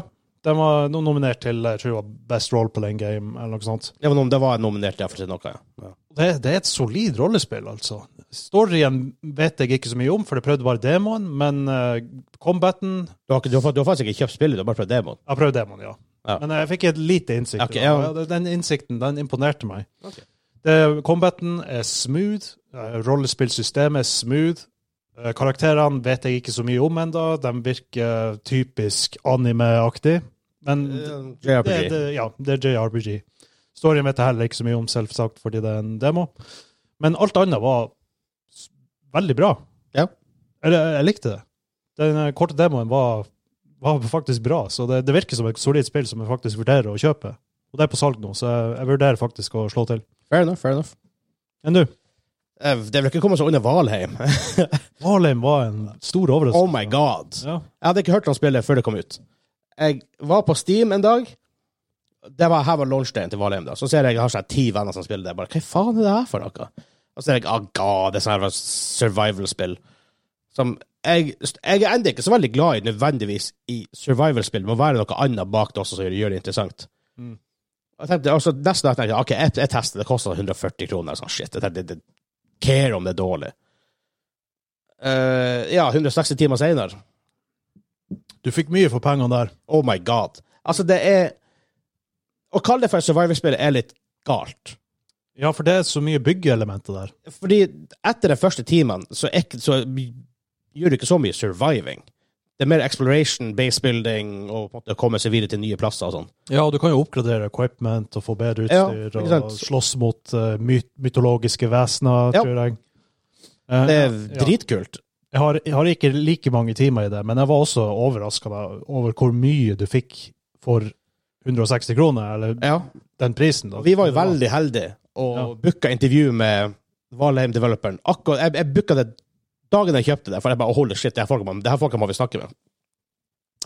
S2: den var no- nominert til jeg tror det var Best Role-Playing Game, eller noe sånt.
S1: Det var, noen, det var nominert ja, for å si noe. Ja. Ja.
S2: Det, det er et solid rollespill, altså. Storyen vet jeg ikke så mye om, for jeg prøvde bare demoen, men eh, combaten
S1: Du, har, ikke- du, har, du har faktisk ikke kjøpt spillet, du har bare prøvd demoen.
S2: Jeg prøvde demoen, ja.
S1: Ja.
S2: Men jeg fikk et lite innsikt. i
S1: Ok,
S2: det.
S1: ja.
S2: Ja, Den innsikten den imponerte meg.
S1: Ok.
S2: Det, combaten er smooth, eh, rollespillsystemet er smooth. eh, Karakterene vet jeg ikke så mye om ennå. De virker typisk anime-aktig. Men
S1: Eh,
S2: det, det,
S1: JRPG.
S2: det, ja, det er JRPG. Storyen vet jeg heller ikke så mye om, selvsagt, fordi det er en demo. Men alt annet var s- veldig bra.
S1: Ja.
S2: Eller, jeg likte det. Den eh, korte demoen var, var faktisk bra, så det, det virker som et solid spill som jeg faktisk vurderer å kjøpe. Og det er på salg nå, så jeg, jeg vurderer faktisk å slå til.
S1: Fair enough, fair enough.
S2: Enn du?
S1: Eh, Det vil ikke komme seg under Valheim.
S2: Valheim var en stor overraskelse.
S1: Oh my god.
S2: Ja.
S1: Jeg hadde ikke hørt han spille før det kom ut. Jeg var på Steam en dag. Det var her var launchdagen til Valheim. da. Så ser jeg jeg har sånn ti venner som spiller det. Jeg Bare, Hva faen er det her for noe? Og så ser jeg ah, god, det er sånn her survival-spill. Som jeg, jeg er ennå ikke så veldig glad i nødvendigvis i survival-spill. Det må være noe annet bak det også som gjør det interessant.
S2: Mm.
S1: Jeg tenkte, altså, nesten da jeg tenkte, ok, jeg, jeg tester, det koster 140 kroner. Sånn, shit, jeg tenkte, det, det care om det er dårlig. Eh, ja, 160 timer senere.
S2: Du fikk mye for pengene der.
S1: Oh my god. Altså, det er Å kalle det for et survival-spill er litt galt.
S2: Ja, for det er så mye byggeelementer der.
S1: Fordi etter den første timen så, er ikke- så gjør du ikke så mye surviving. Det er mer exploration, base building og på en måte komme seg videre til nye plasser og sånn.
S2: Ja, og du kan jo oppgradere equipment og få bedre
S1: Ja,
S2: utstyr,
S1: ikke sant?
S2: og slåss mot eh, my mytologiske vesener,
S1: Ja.
S2: tror jeg. Eh,
S1: Det er
S2: ja.
S1: dritkult.
S2: Jeg har, jeg har ikke like mange timer i det, men jeg var også overraska over hvor mye du fikk for 160 kroner, eller
S1: Ja.
S2: den prisen. da.
S1: Vi var jo veldig heldige og
S2: Ja.
S1: booka intervju med Valheim-developeren. Akkurat, Jeg, jeg booka det dagen jeg kjøpte det, for jeg bare holy shit, det her folket må- det her folket må vi snakke med.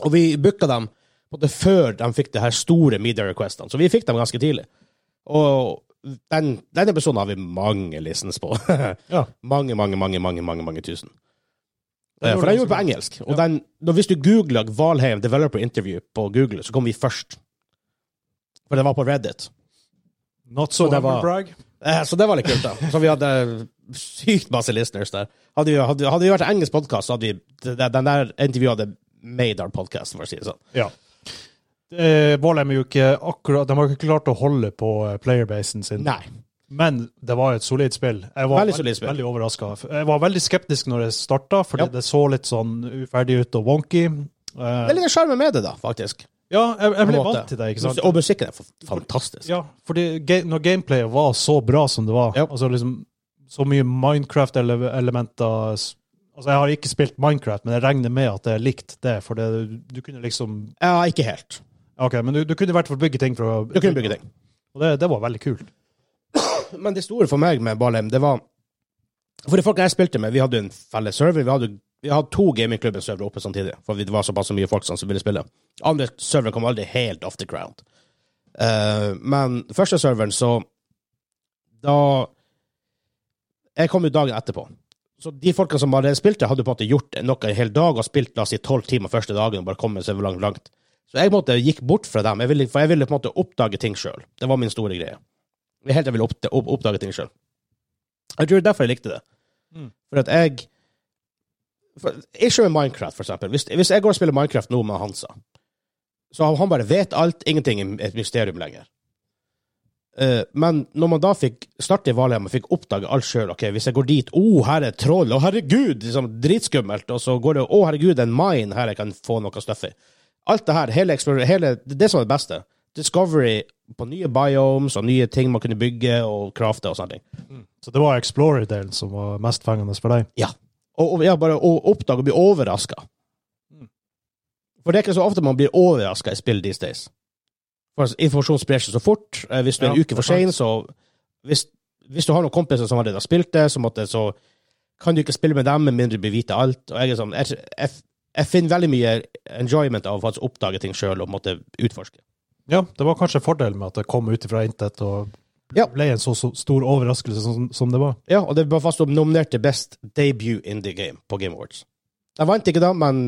S1: Og vi booka dem på en måte før de fikk de her store media requestene, så vi fikk dem ganske tidlig. Og den, den episoden har vi mange listens på.
S2: Ja.
S1: mange, mange, mange, mange, mange, mange tusen.
S2: Det
S1: Eh,
S2: gjorde
S1: For den
S2: det
S1: gjorde på
S2: så bra.
S1: engelsk. Og den, når, hvis du googler Valheim Developer Interview på Google, så kommer vi først. For det var på Reddit.
S2: Not so
S1: Så det var-
S2: humble brag.
S1: Eh, Så det var litt kult, da. Så vi hadde eh, sykt masse listeners der. Hadde vi, hadde, hadde vi vært en engelsk podkast, hadde vi det- Den der intervjuet hadde made our podcast, for å si det sånn.
S2: Ja. Eh, Valheim er jo ikke akkurat De har ikke klart å holde på eh, playerbasen sin,
S1: Nei.
S2: men det var et solid spill. Jeg var
S1: Veldig solid spill.
S2: veldig overraska. Jeg var veldig skeptisk når jeg starta, fordi
S1: Ja.
S2: det så litt sånn uferdig ut og wonky.
S1: Det er
S2: Eh,
S1: litt sjarm med det, da, faktisk.
S2: ja, jeg, jeg ble
S1: På en måte.
S2: vant til det, ikke sant?
S1: Og musikken er f- fantastisk.
S2: Ja, fordi ga når gameplayet var så bra som det var,
S1: Ja.
S2: altså liksom så mye Minecraft-elementer s- Altså, jeg har ikke spilt Minecraft, men jeg regner med at det er likt det, for det, du kunne liksom
S1: Ja, ikke helt.
S2: OK, men du, du kunne i hvert fall bygge ting for å
S1: Du kunne bygge ting.
S2: Og det, det var veldig kult.
S1: Men det store for meg med Balheim, det var For de folka jeg spilte med, vi hadde en felles server. Vi hadde, vi hadde to gamingklubben-servere oppe samtidig, for det var såpass mye folk som ville spille. Andre serveren kom aldri helt off the ground. Eh, men første serveren, så Da Jeg kom jo dagen etterpå. Så de folka som allerede spilte, hadde på en måte gjort noe en hel dag og spilt la oss si tolv timer første dagen og bare kommet seg langt. langt. Så jeg på en måte gikk bort fra dem, jeg ville, for jeg ville på en måte oppdage ting sjøl. Det var min store greie. Det er helt til jeg ville opp, opp, oppdage ting sjøl. Jeg tror det er derfor jeg likte det.
S2: Mm.
S1: For at jeg for, Ikke med Minecraft, for eksempel. Hvis, hvis jeg går og spiller Minecraft nå med Hansa, så han bare vet alt, ingenting er et mysterium lenger. Eh, men når man da fikk starte i Valheim og fikk oppdage alt sjøl ok, Hvis jeg går dit Å, her er troll! Å, herregud! Liksom, dritskummelt. Og så går det Å, herregud, det er en mine her jeg kan få noe stuff i. Alt det her, hele, explore- hele Det er det som er det beste. Discovery på nye biomes og nye ting man kunne bygge og crafte og sånne ting.
S2: Så det var Explorer-delen som var mest fengende for deg.
S1: Og, og ja, bare å oppdage og bli overraska.
S2: Mm.
S1: For det er ikke så ofte man blir overraska i spill these days. For altså, informasjon sprer seg så fort. Eh, Hvis du er en
S2: Ja,
S1: uke
S2: det er
S1: for sein, så hvis, hvis du har noen kompiser som allerede har spilt det, så, måtte, så kan du ikke spille med dem med mindre du blir vite alt. Og jeg, er sånn, jeg, jeg, jeg finner veldig mye enjoyment av å faktisk oppdage ting sjøl og måtte utforske.
S2: Ja, det var kanskje fordelen med at det kom ut ifra intet og
S1: Ja.
S2: ble en så, så stor overraskelse som, som det var.
S1: Ja, og det var fast nominert til Best Debut in the Game på Game Awards. Jeg vant ikke da, men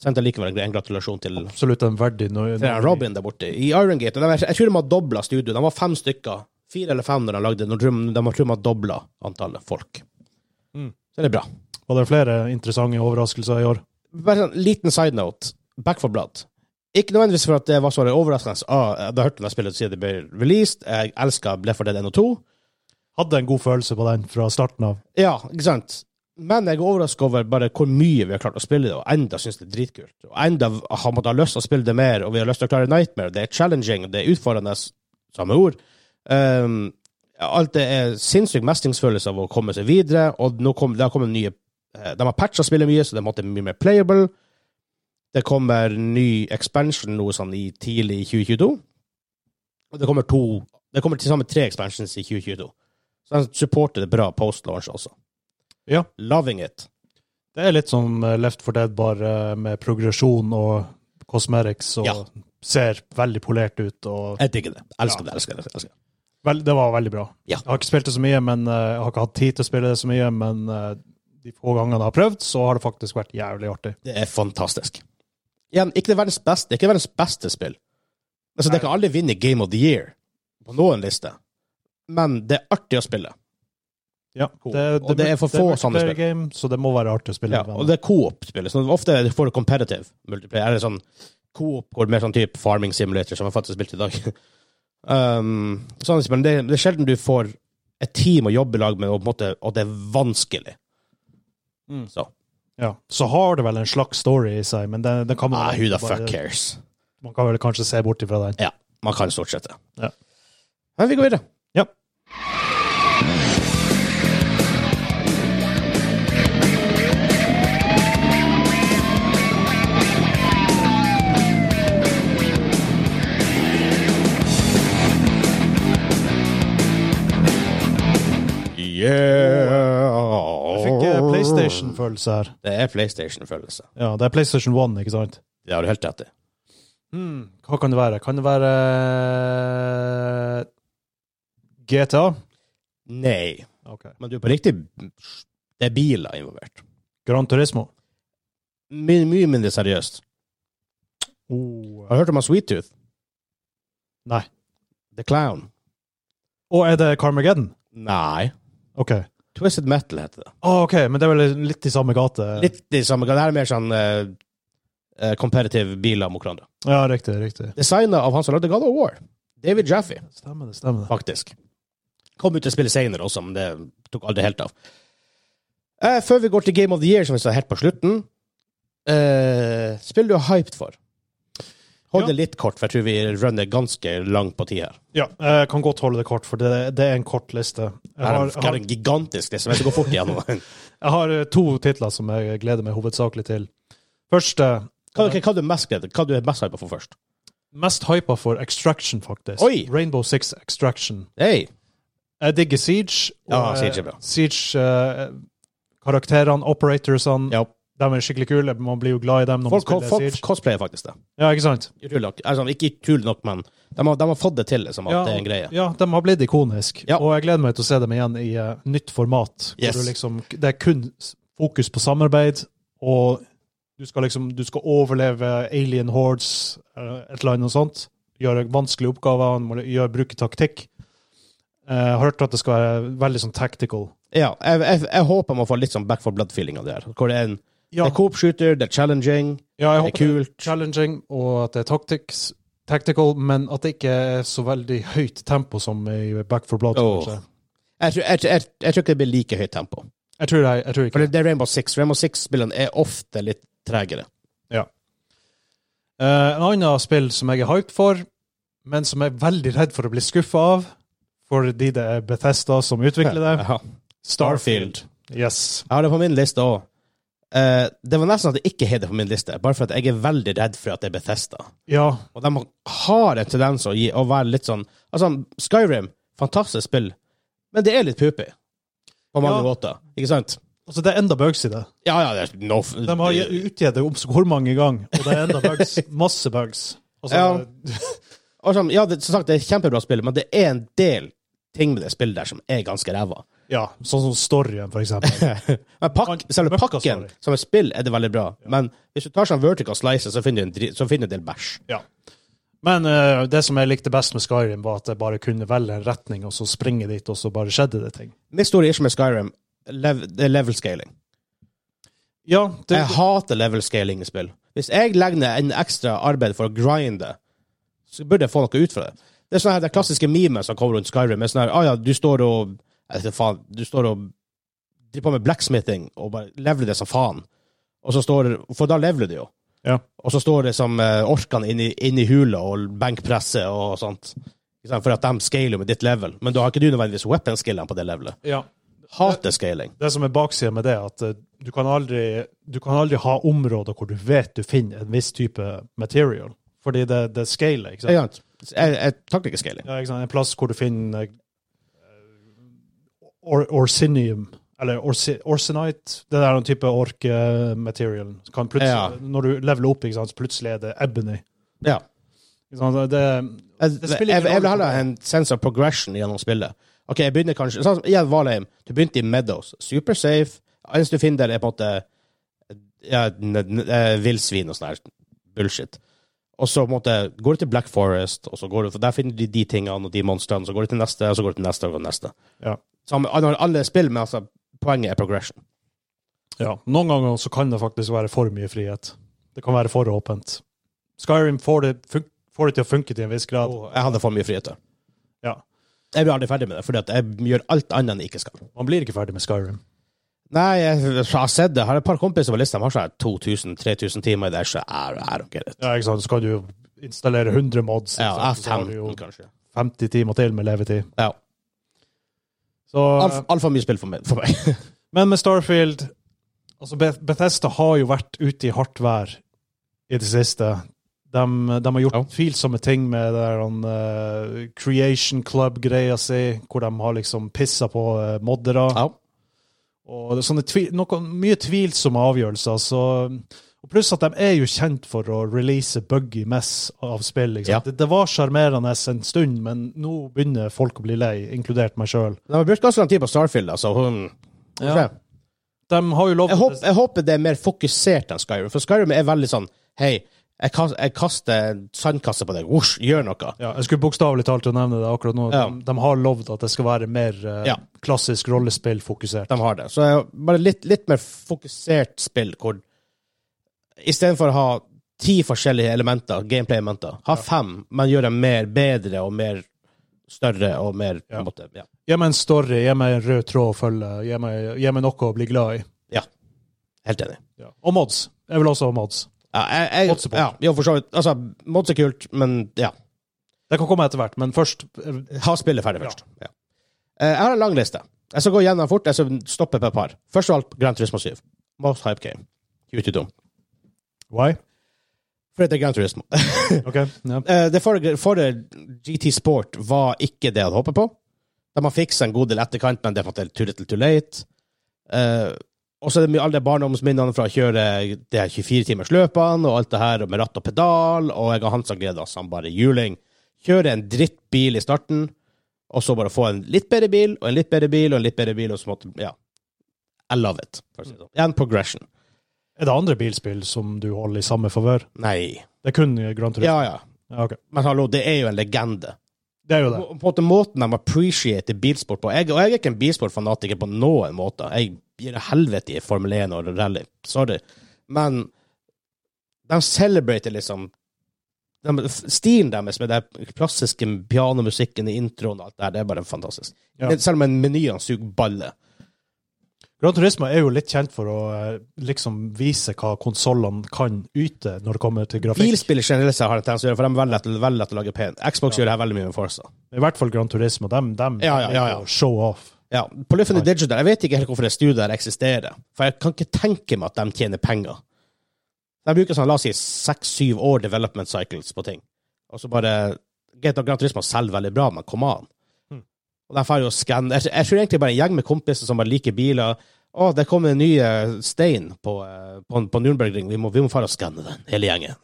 S1: sendte likevel en gratulasjon til
S2: Absolutt en verdig no
S1: til den Robin der borte. I Irongate. og de er- Jeg tror de har dobla studioet. De var fem stykker. Fire eller fem når de lagde den. og De, de har- tror de har dobla antallet folk.
S2: Mm.
S1: Så det er bra.
S2: Var det flere interessante overraskelser i år?
S1: Bare en liten side note. Back for blood. Ikke nødvendigvis for at det var så overraskende. Ah, jeg hadde hørt om det spillet siden det ble released. Jeg elska Bleffer Dead 1 og 2.
S2: Hadde en god følelse på den fra starten av.
S1: Ja, ikke sant? Men jeg er overrasket over bare hvor mye vi har klart å spille det, og enda synes det er dritkult. Og enda har man da lyst til å spille det mer, og vi har lyst til å klare Nightmare. Det er challenging, det er utfordrende, samme ord. Um, Alt det er sinnssyk mestringsfølelse av å komme seg videre, og nå kom, det har kommet nye eh, De har patcha spillet mye, så det er på en måte mye mer playable. Det kommer ny expansion nå sånn i tidlig i 2022. Og det kommer to Det kommer til sammen tre expansions i 2022. Så de supporter det bra post-launch også.
S2: Ja.
S1: Loving it.
S2: Det er litt som eh, Left 4 Dead, bare eh, med progresjon og cosmetics, og
S1: Ja.
S2: ser veldig polert ut. Og
S1: Jeg digger det. Elsker
S2: Ja.
S1: det. elsker det, elsker det.
S2: vel, det var veldig bra.
S1: Ja.
S2: Jeg har ikke spilt det så mye, men eh, jeg har ikke hatt tid til å spille det så mye. Men eh, de få gangene jeg har prøvd, så har det faktisk vært jævlig artig.
S1: Det er fantastisk. Igjen, ikke det verdens beste, ikke det verdens beste spill. Altså, det
S2: Nei.
S1: kan aldri vinne Game of the Year på noen liste, men det er artig å spille.
S2: Ja,
S1: Cool. Og det er for få sånne
S2: multiplayer Game, så det må være artig å spille.
S1: Ja,
S2: med
S1: og
S2: venner.
S1: det er co-op-spill. Så ofte er det for competitive multiplayer. Eller sånn co-op går mer sånn type farming simulator, som jeg faktisk spilte i dag. um, sånn, men det, det er sjelden du får et team å jobbe i lag med, og, på en måte, og det er vanskelig.
S2: Mm.
S1: Så
S2: ja. Så har det vel en slags story i seg, men den, den kan man,
S1: ah, who the fuck
S2: bare,
S1: cares?
S2: man kan vel kanskje se bort ifra den.
S1: Ja, man kan stort sett det.
S2: Ja.
S1: Men vi går videre.
S2: Ja.
S1: Yeah!
S2: Jeg fikk eh, PlayStation-følelse her.
S1: Det er PlayStation-følelse.
S2: Ja, det er PlayStation 1, ikke sant?
S1: Det har du helt rett i.
S2: Hmm, hva kan det være? Kan det være eh, GTA?
S1: Nei,
S2: Ok.
S1: men du er på riktig Det er biler involvert.
S2: Gran Turismo?
S1: Mye, mye mindre seriøst. Har du hørt om han Sweet Tooth?
S2: Nei.
S1: The Clown?
S2: Og er det Carmageddon?
S1: Nei.
S2: Ok.
S1: Twisted Metal heter det.
S2: Å, ok, men det er vel litt i samme gate?
S1: Litt i samme grad. Det her er mer sånn eh, eh, competitive biler mot hverandre.
S2: Ja, riktig, riktig.
S1: Designa av han som lagde God of War. David Jaffe.
S2: Stemmer det, stemmer det.
S1: faktisk. Kom ut og spille senere også, men det tok aldri helt av. Eh, før vi går til Game of the Year, som vi sa helt på slutten eh, Spill du er hyped for? Hold
S2: Ja.
S1: det litt kort, for jeg tror vi runner ganske langt på tid her.
S2: Ja, jeg kan godt holde det kort, for det, det er en kort liste. Jeg
S1: Her
S2: har,
S1: er
S2: jeg,
S1: her er
S2: har,
S1: en gigantisk liste, men jeg skal gå fort igjennom den.
S2: jeg har eh, to titler som jeg gleder meg hovedsakelig til. Første
S1: Hva, ok, hva, er du mest gleder- hva er du er mest hypa for først?
S2: Mest hypa for Extraction, faktisk.
S1: Oi!
S2: Rainbow Six Extraction.
S1: Hei!
S2: Jeg digger Siege.
S1: Ja,
S2: eh,
S1: Siege er bra.
S2: Siege, eh, karakterene, operatorsene,
S1: Ja.
S2: de er skikkelig kule. Man blir jo glad i dem når
S1: Folk,
S2: man spiller
S1: folk
S2: Siege.
S1: cosplayer faktisk det.
S2: Ja, ikke sant?
S1: Utrolig nok. Altså, ikke utrolig nok, men de har, de har fått det til, liksom, at
S2: Ja,
S1: det er en greie.
S2: ja, de har blitt ikonisk.
S1: Ja.
S2: Og jeg gleder meg til å se dem igjen i eh, nytt format. hvor
S1: Yes.
S2: Du liksom, det er kun s- fokus på samarbeid, og du skal liksom du skal overleve alien hordes, eh, et eller annet sånt. Gjøre vanskelige oppgaver, man må gjøre, bruke taktikk. Eh, Jeg har hørt at det skal være veldig sånn tactical.
S1: Ja, jeg, jeg, jeg håper man får litt sånn back for blood-feeling av det her. Hvor det er en
S2: Ja.
S1: Det er Coop-shooter, det er challenging,
S2: Ja, jeg
S1: det er
S2: håper det er
S1: kult.
S2: challenging, og at det er tactics, tactical, men at det ikke er så veldig høyt tempo som i Back for Blood.
S1: Åh.
S2: kanskje.
S1: Jeg, tror- jeg, jeg, jeg tror ikke det blir like høyt tempo.
S2: Jeg tror, jeg, jeg tror
S1: For
S2: ikke
S1: det, det er Rainbow Six. Rainbow Six-spillene er ofte litt tregere.
S2: Eh, En annen spill som jeg er hyped for, men som jeg er veldig redd for å bli skuffa av, fordi det er Bethesda som utvikler det,
S1: Jaha.
S2: Starfield. Yes.
S1: Jeg har det på min liste òg. det var nesten at det ikke heter på min liste, bare for at jeg er veldig redd for at det er Bethesda.
S2: Ja,
S1: Og de har en tendens å, gi, å være litt sånn Altså, Skyrim, fantastisk spill, men det er litt pupi på mange
S2: Ja.
S1: måter. Ikke sant?
S2: altså det er enda bugs i det.
S1: Ja, ja, det er no f-
S2: De har utgitt det om så hvor mange ganger, og det er enda bugs. Masse bugs. Altså,
S1: Og sånn, ja, det, som sagt, det er et kjempebra spill, men det er en del ting med det spillet der som er ganske ræva.
S2: ja, sånn som storyen, for eksempel.
S1: Men pakk,
S2: Han-
S1: selve
S2: møkka,
S1: pakken
S2: sorry.
S1: som et spill er det veldig bra, men hvis du tar sånn vertical slicer, så finner du en, dri- så finner du en del bæsj.
S2: Men eh, det som jeg likte best med Skyrim, var at jeg bare kunne velge en retning, og så springe dit, og så bare skjedde det ting.
S1: Min store issue med Skyrim lev, det er level scaling.
S2: Ja, det,
S1: Jeg hater level scaling i spill. Hvis jeg legger ned en ekstra arbeid for å grinde, så burde jeg få noe ut fra det. Det er sånn her, det klassiske memet som kommer rundt Skyrim. er sånn her, ah, ja, du står og jeg vet ikke faen, du står og driver på med blacksmithing og bare leveler det som faen. Og så står, For da leveler det jo.
S2: Ja.
S1: Og så står det som eh, orkene inni, inni hula og benkpresset og sånt. Ikke sant? For at de scaler jo med ditt level. Men da har ikke du nødvendigvis weapon-skillene på det levelet.
S2: Ja.
S1: Hater scaling.
S2: Det som er baksida med det, er at eh, du kan, aldri, du kan aldri ha områder hvor du vet du finner en viss type material. Fordi det, det scaler. ikke sant?
S1: Ikke sant? Jeg, jeg takler ikke scaling.
S2: Ja, ikke sant? En plass hvor du finner eh, or, Orsinium, eller orsi, Orsinite. Det der er en type ork-material. Kan
S1: Ja.
S2: plutselig, Når du leveler opp, ikke sant? så plutselig er det ebony.
S1: Ja.
S2: Ikke sant? Det,
S1: Jeg,
S2: Det
S1: jeg,
S2: spiller
S1: jeg
S2: ingen
S1: vil
S2: rolle.
S1: heller ha en sense of progression gjennom spillet. Ok, jeg begynner kanskje sånn som Igjen Valheim. Du begynte i Meadows. Super safe. Eneste du finner der, er på en måte ja, n- n- eh, villsvin og sånn her bullshit. Og så på en måte, går du til Black Forest, og så går du, for der finner du de tingene og de monstrene. Så går du til neste, og så går du til neste og går du til neste.
S2: Ja.
S1: Samme, alle, alle spill, men altså, poenget er progression.
S2: ja. Noen ganger så kan det faktisk være for mye frihet. Det kan være for åpent. Skyrim får det, fun får det til å funke til en viss grad.
S1: Og jeg hadde for mye frihet. da.
S2: Ja.
S1: Jeg blir aldri ferdig med det, fordi at jeg gjør alt annet enn jeg ikke skal.
S2: Man blir ikke ferdig med Skyrim.
S1: Nei, jeg har sett det. Jeg har et par kompiser på lista. De har sånn 2000-3000 timer i det. Så jeg er ikke det.
S2: Ja, ikke sant? Så kan du jo installere 100 mods. ikke
S1: Ja, jeg
S2: sant? Så har
S1: er
S2: du jo
S1: 15, kanskje.
S2: 50 timer til med levetid.
S1: Ja.
S2: Så, eh,
S1: Altfor alt for mye spill for meg. For meg.
S2: men med Starfield altså Beth- Bethesda har jo vært ute i hardt vær i det siste. De, de har gjort
S1: Ja.
S2: tvilsomme ting med det der, han, eh, Creation Club-greia si, hvor de har liksom pissa på eh, moddere.
S1: Ja.
S2: Og det er sånne tvi, noe, mye tvilsomme avgjørelser. Så, og pluss at de er jo kjent for å release buggy mess av spill. Ikke sant?
S1: Ja.
S2: Det, det var sjarmerende en stund, men nå begynner folk å bli lei, inkludert meg sjøl.
S1: De har brukt ganske lang tid på Starfield, altså. Hun,
S2: De har jo lov
S1: jeg, håper, jeg håper det er mer fokusert enn Skyrim, for Skyrim er veldig sånn Hei, jeg, kas- jeg kaster en sandkasse på deg. Whoosh, gjør noe.
S2: ja, jeg skulle bokstavelig talt å nevne det akkurat nå.
S1: Ja.
S2: De, de har lovd at det skal være mer eh,
S1: Ja.
S2: klassisk rollespillfokusert.
S1: De har det. Så jeg, bare litt, litt mer fokusert spill, hvor istedenfor å ha ti forskjellige elementer, gameplay-elementer, ha fem, men gjør dem mer bedre og mer større og mer på
S2: Ja.
S1: en måte, ja.
S2: Gi meg en story, gi meg en rød tråd å følge, gi meg, gi meg noe å bli glad i.
S1: Helt enig.
S2: Og mods. Jeg vil også ha mods.
S1: Ja, jeg, jeg,
S2: Mod support.
S1: ja, jo, for så vidt. Altså, mods er kult, men ja.
S2: Det kan komme etter hvert, men først eh,
S1: Ha spillet ferdig først. Ja. Eh, Jeg har en lang liste. Jeg skal gå gjennom fort. Jeg skal stoppe på et par. Først av alt Grand Turismo 7. Most hype game. Ute dum.
S2: Why?
S1: For det er Grand Turismo.
S2: OK. Ja.
S1: Eh, det forrige, forrige GT Sport var ikke det jeg hadde håpet på. De har fiksa en god del etterkant, men det er på en måte too little too late. Eh, og så er det mye alle de barndomsminnene fra å kjøre de her 24-timersløpene og alt det her med ratt og pedal, og jeg har han som gleder seg, han bare juling. Kjøre en drittbil i starten, og så bare få en litt bedre bil, og en litt bedre bil, og en litt bedre bil, og så måtte Ja. I love it. for å si det sånn. En progression.
S2: Er det andre bilspill som du holder i samme favør?
S1: Nei.
S2: Det er kun Grand Turismo?
S1: Ja, ja.
S2: Ja, ok.
S1: Men hallo, det er jo en legende.
S2: Det er jo det.
S1: På, på en måte måten de appreciater bilsport på jeg, Og jeg er ikke en bilsportfanatiker på noen måte. Jeg gir helvete i Formel 1 og rally. Sorry. Men de celebrater liksom de, Stilen deres med den klassiske pianomusikken i introen og alt det der, det er bare fantastisk.
S2: Ja.
S1: Men Selv om menyen suger balle.
S2: Grand Turismo er jo litt kjent for å eh, liksom vise hva konsollene kan yte når det kommer til grafikk.
S1: Bilspillere generelt sett har en tendens til å gjøre for de er veldig lett, veldig lett å lage pent. Xbox gjør det her veldig mye med Forza.
S2: I hvert fall Grand Turismo. Dem, dem
S1: Ja, ja, ja, ja.
S2: er jo show off.
S1: Ja, Polyphony Digital, jeg vet ikke helt hvorfor det studioet her eksisterer. For jeg kan ikke tenke meg at de tjener penger. De bruker sånn, la oss si, seks-syv år development cycles på ting. Og så bare Greit nok, Gran Turismo selger veldig bra, men kom an.
S2: Mm.
S1: Og de får jo skann jeg, jeg tror egentlig bare en gjeng med kompiser som bare liker biler. Å, det kom en ny eh, stein på, eh, på, på Nürnbergring. Vi må, vi må fare og skanne den, hele gjengen.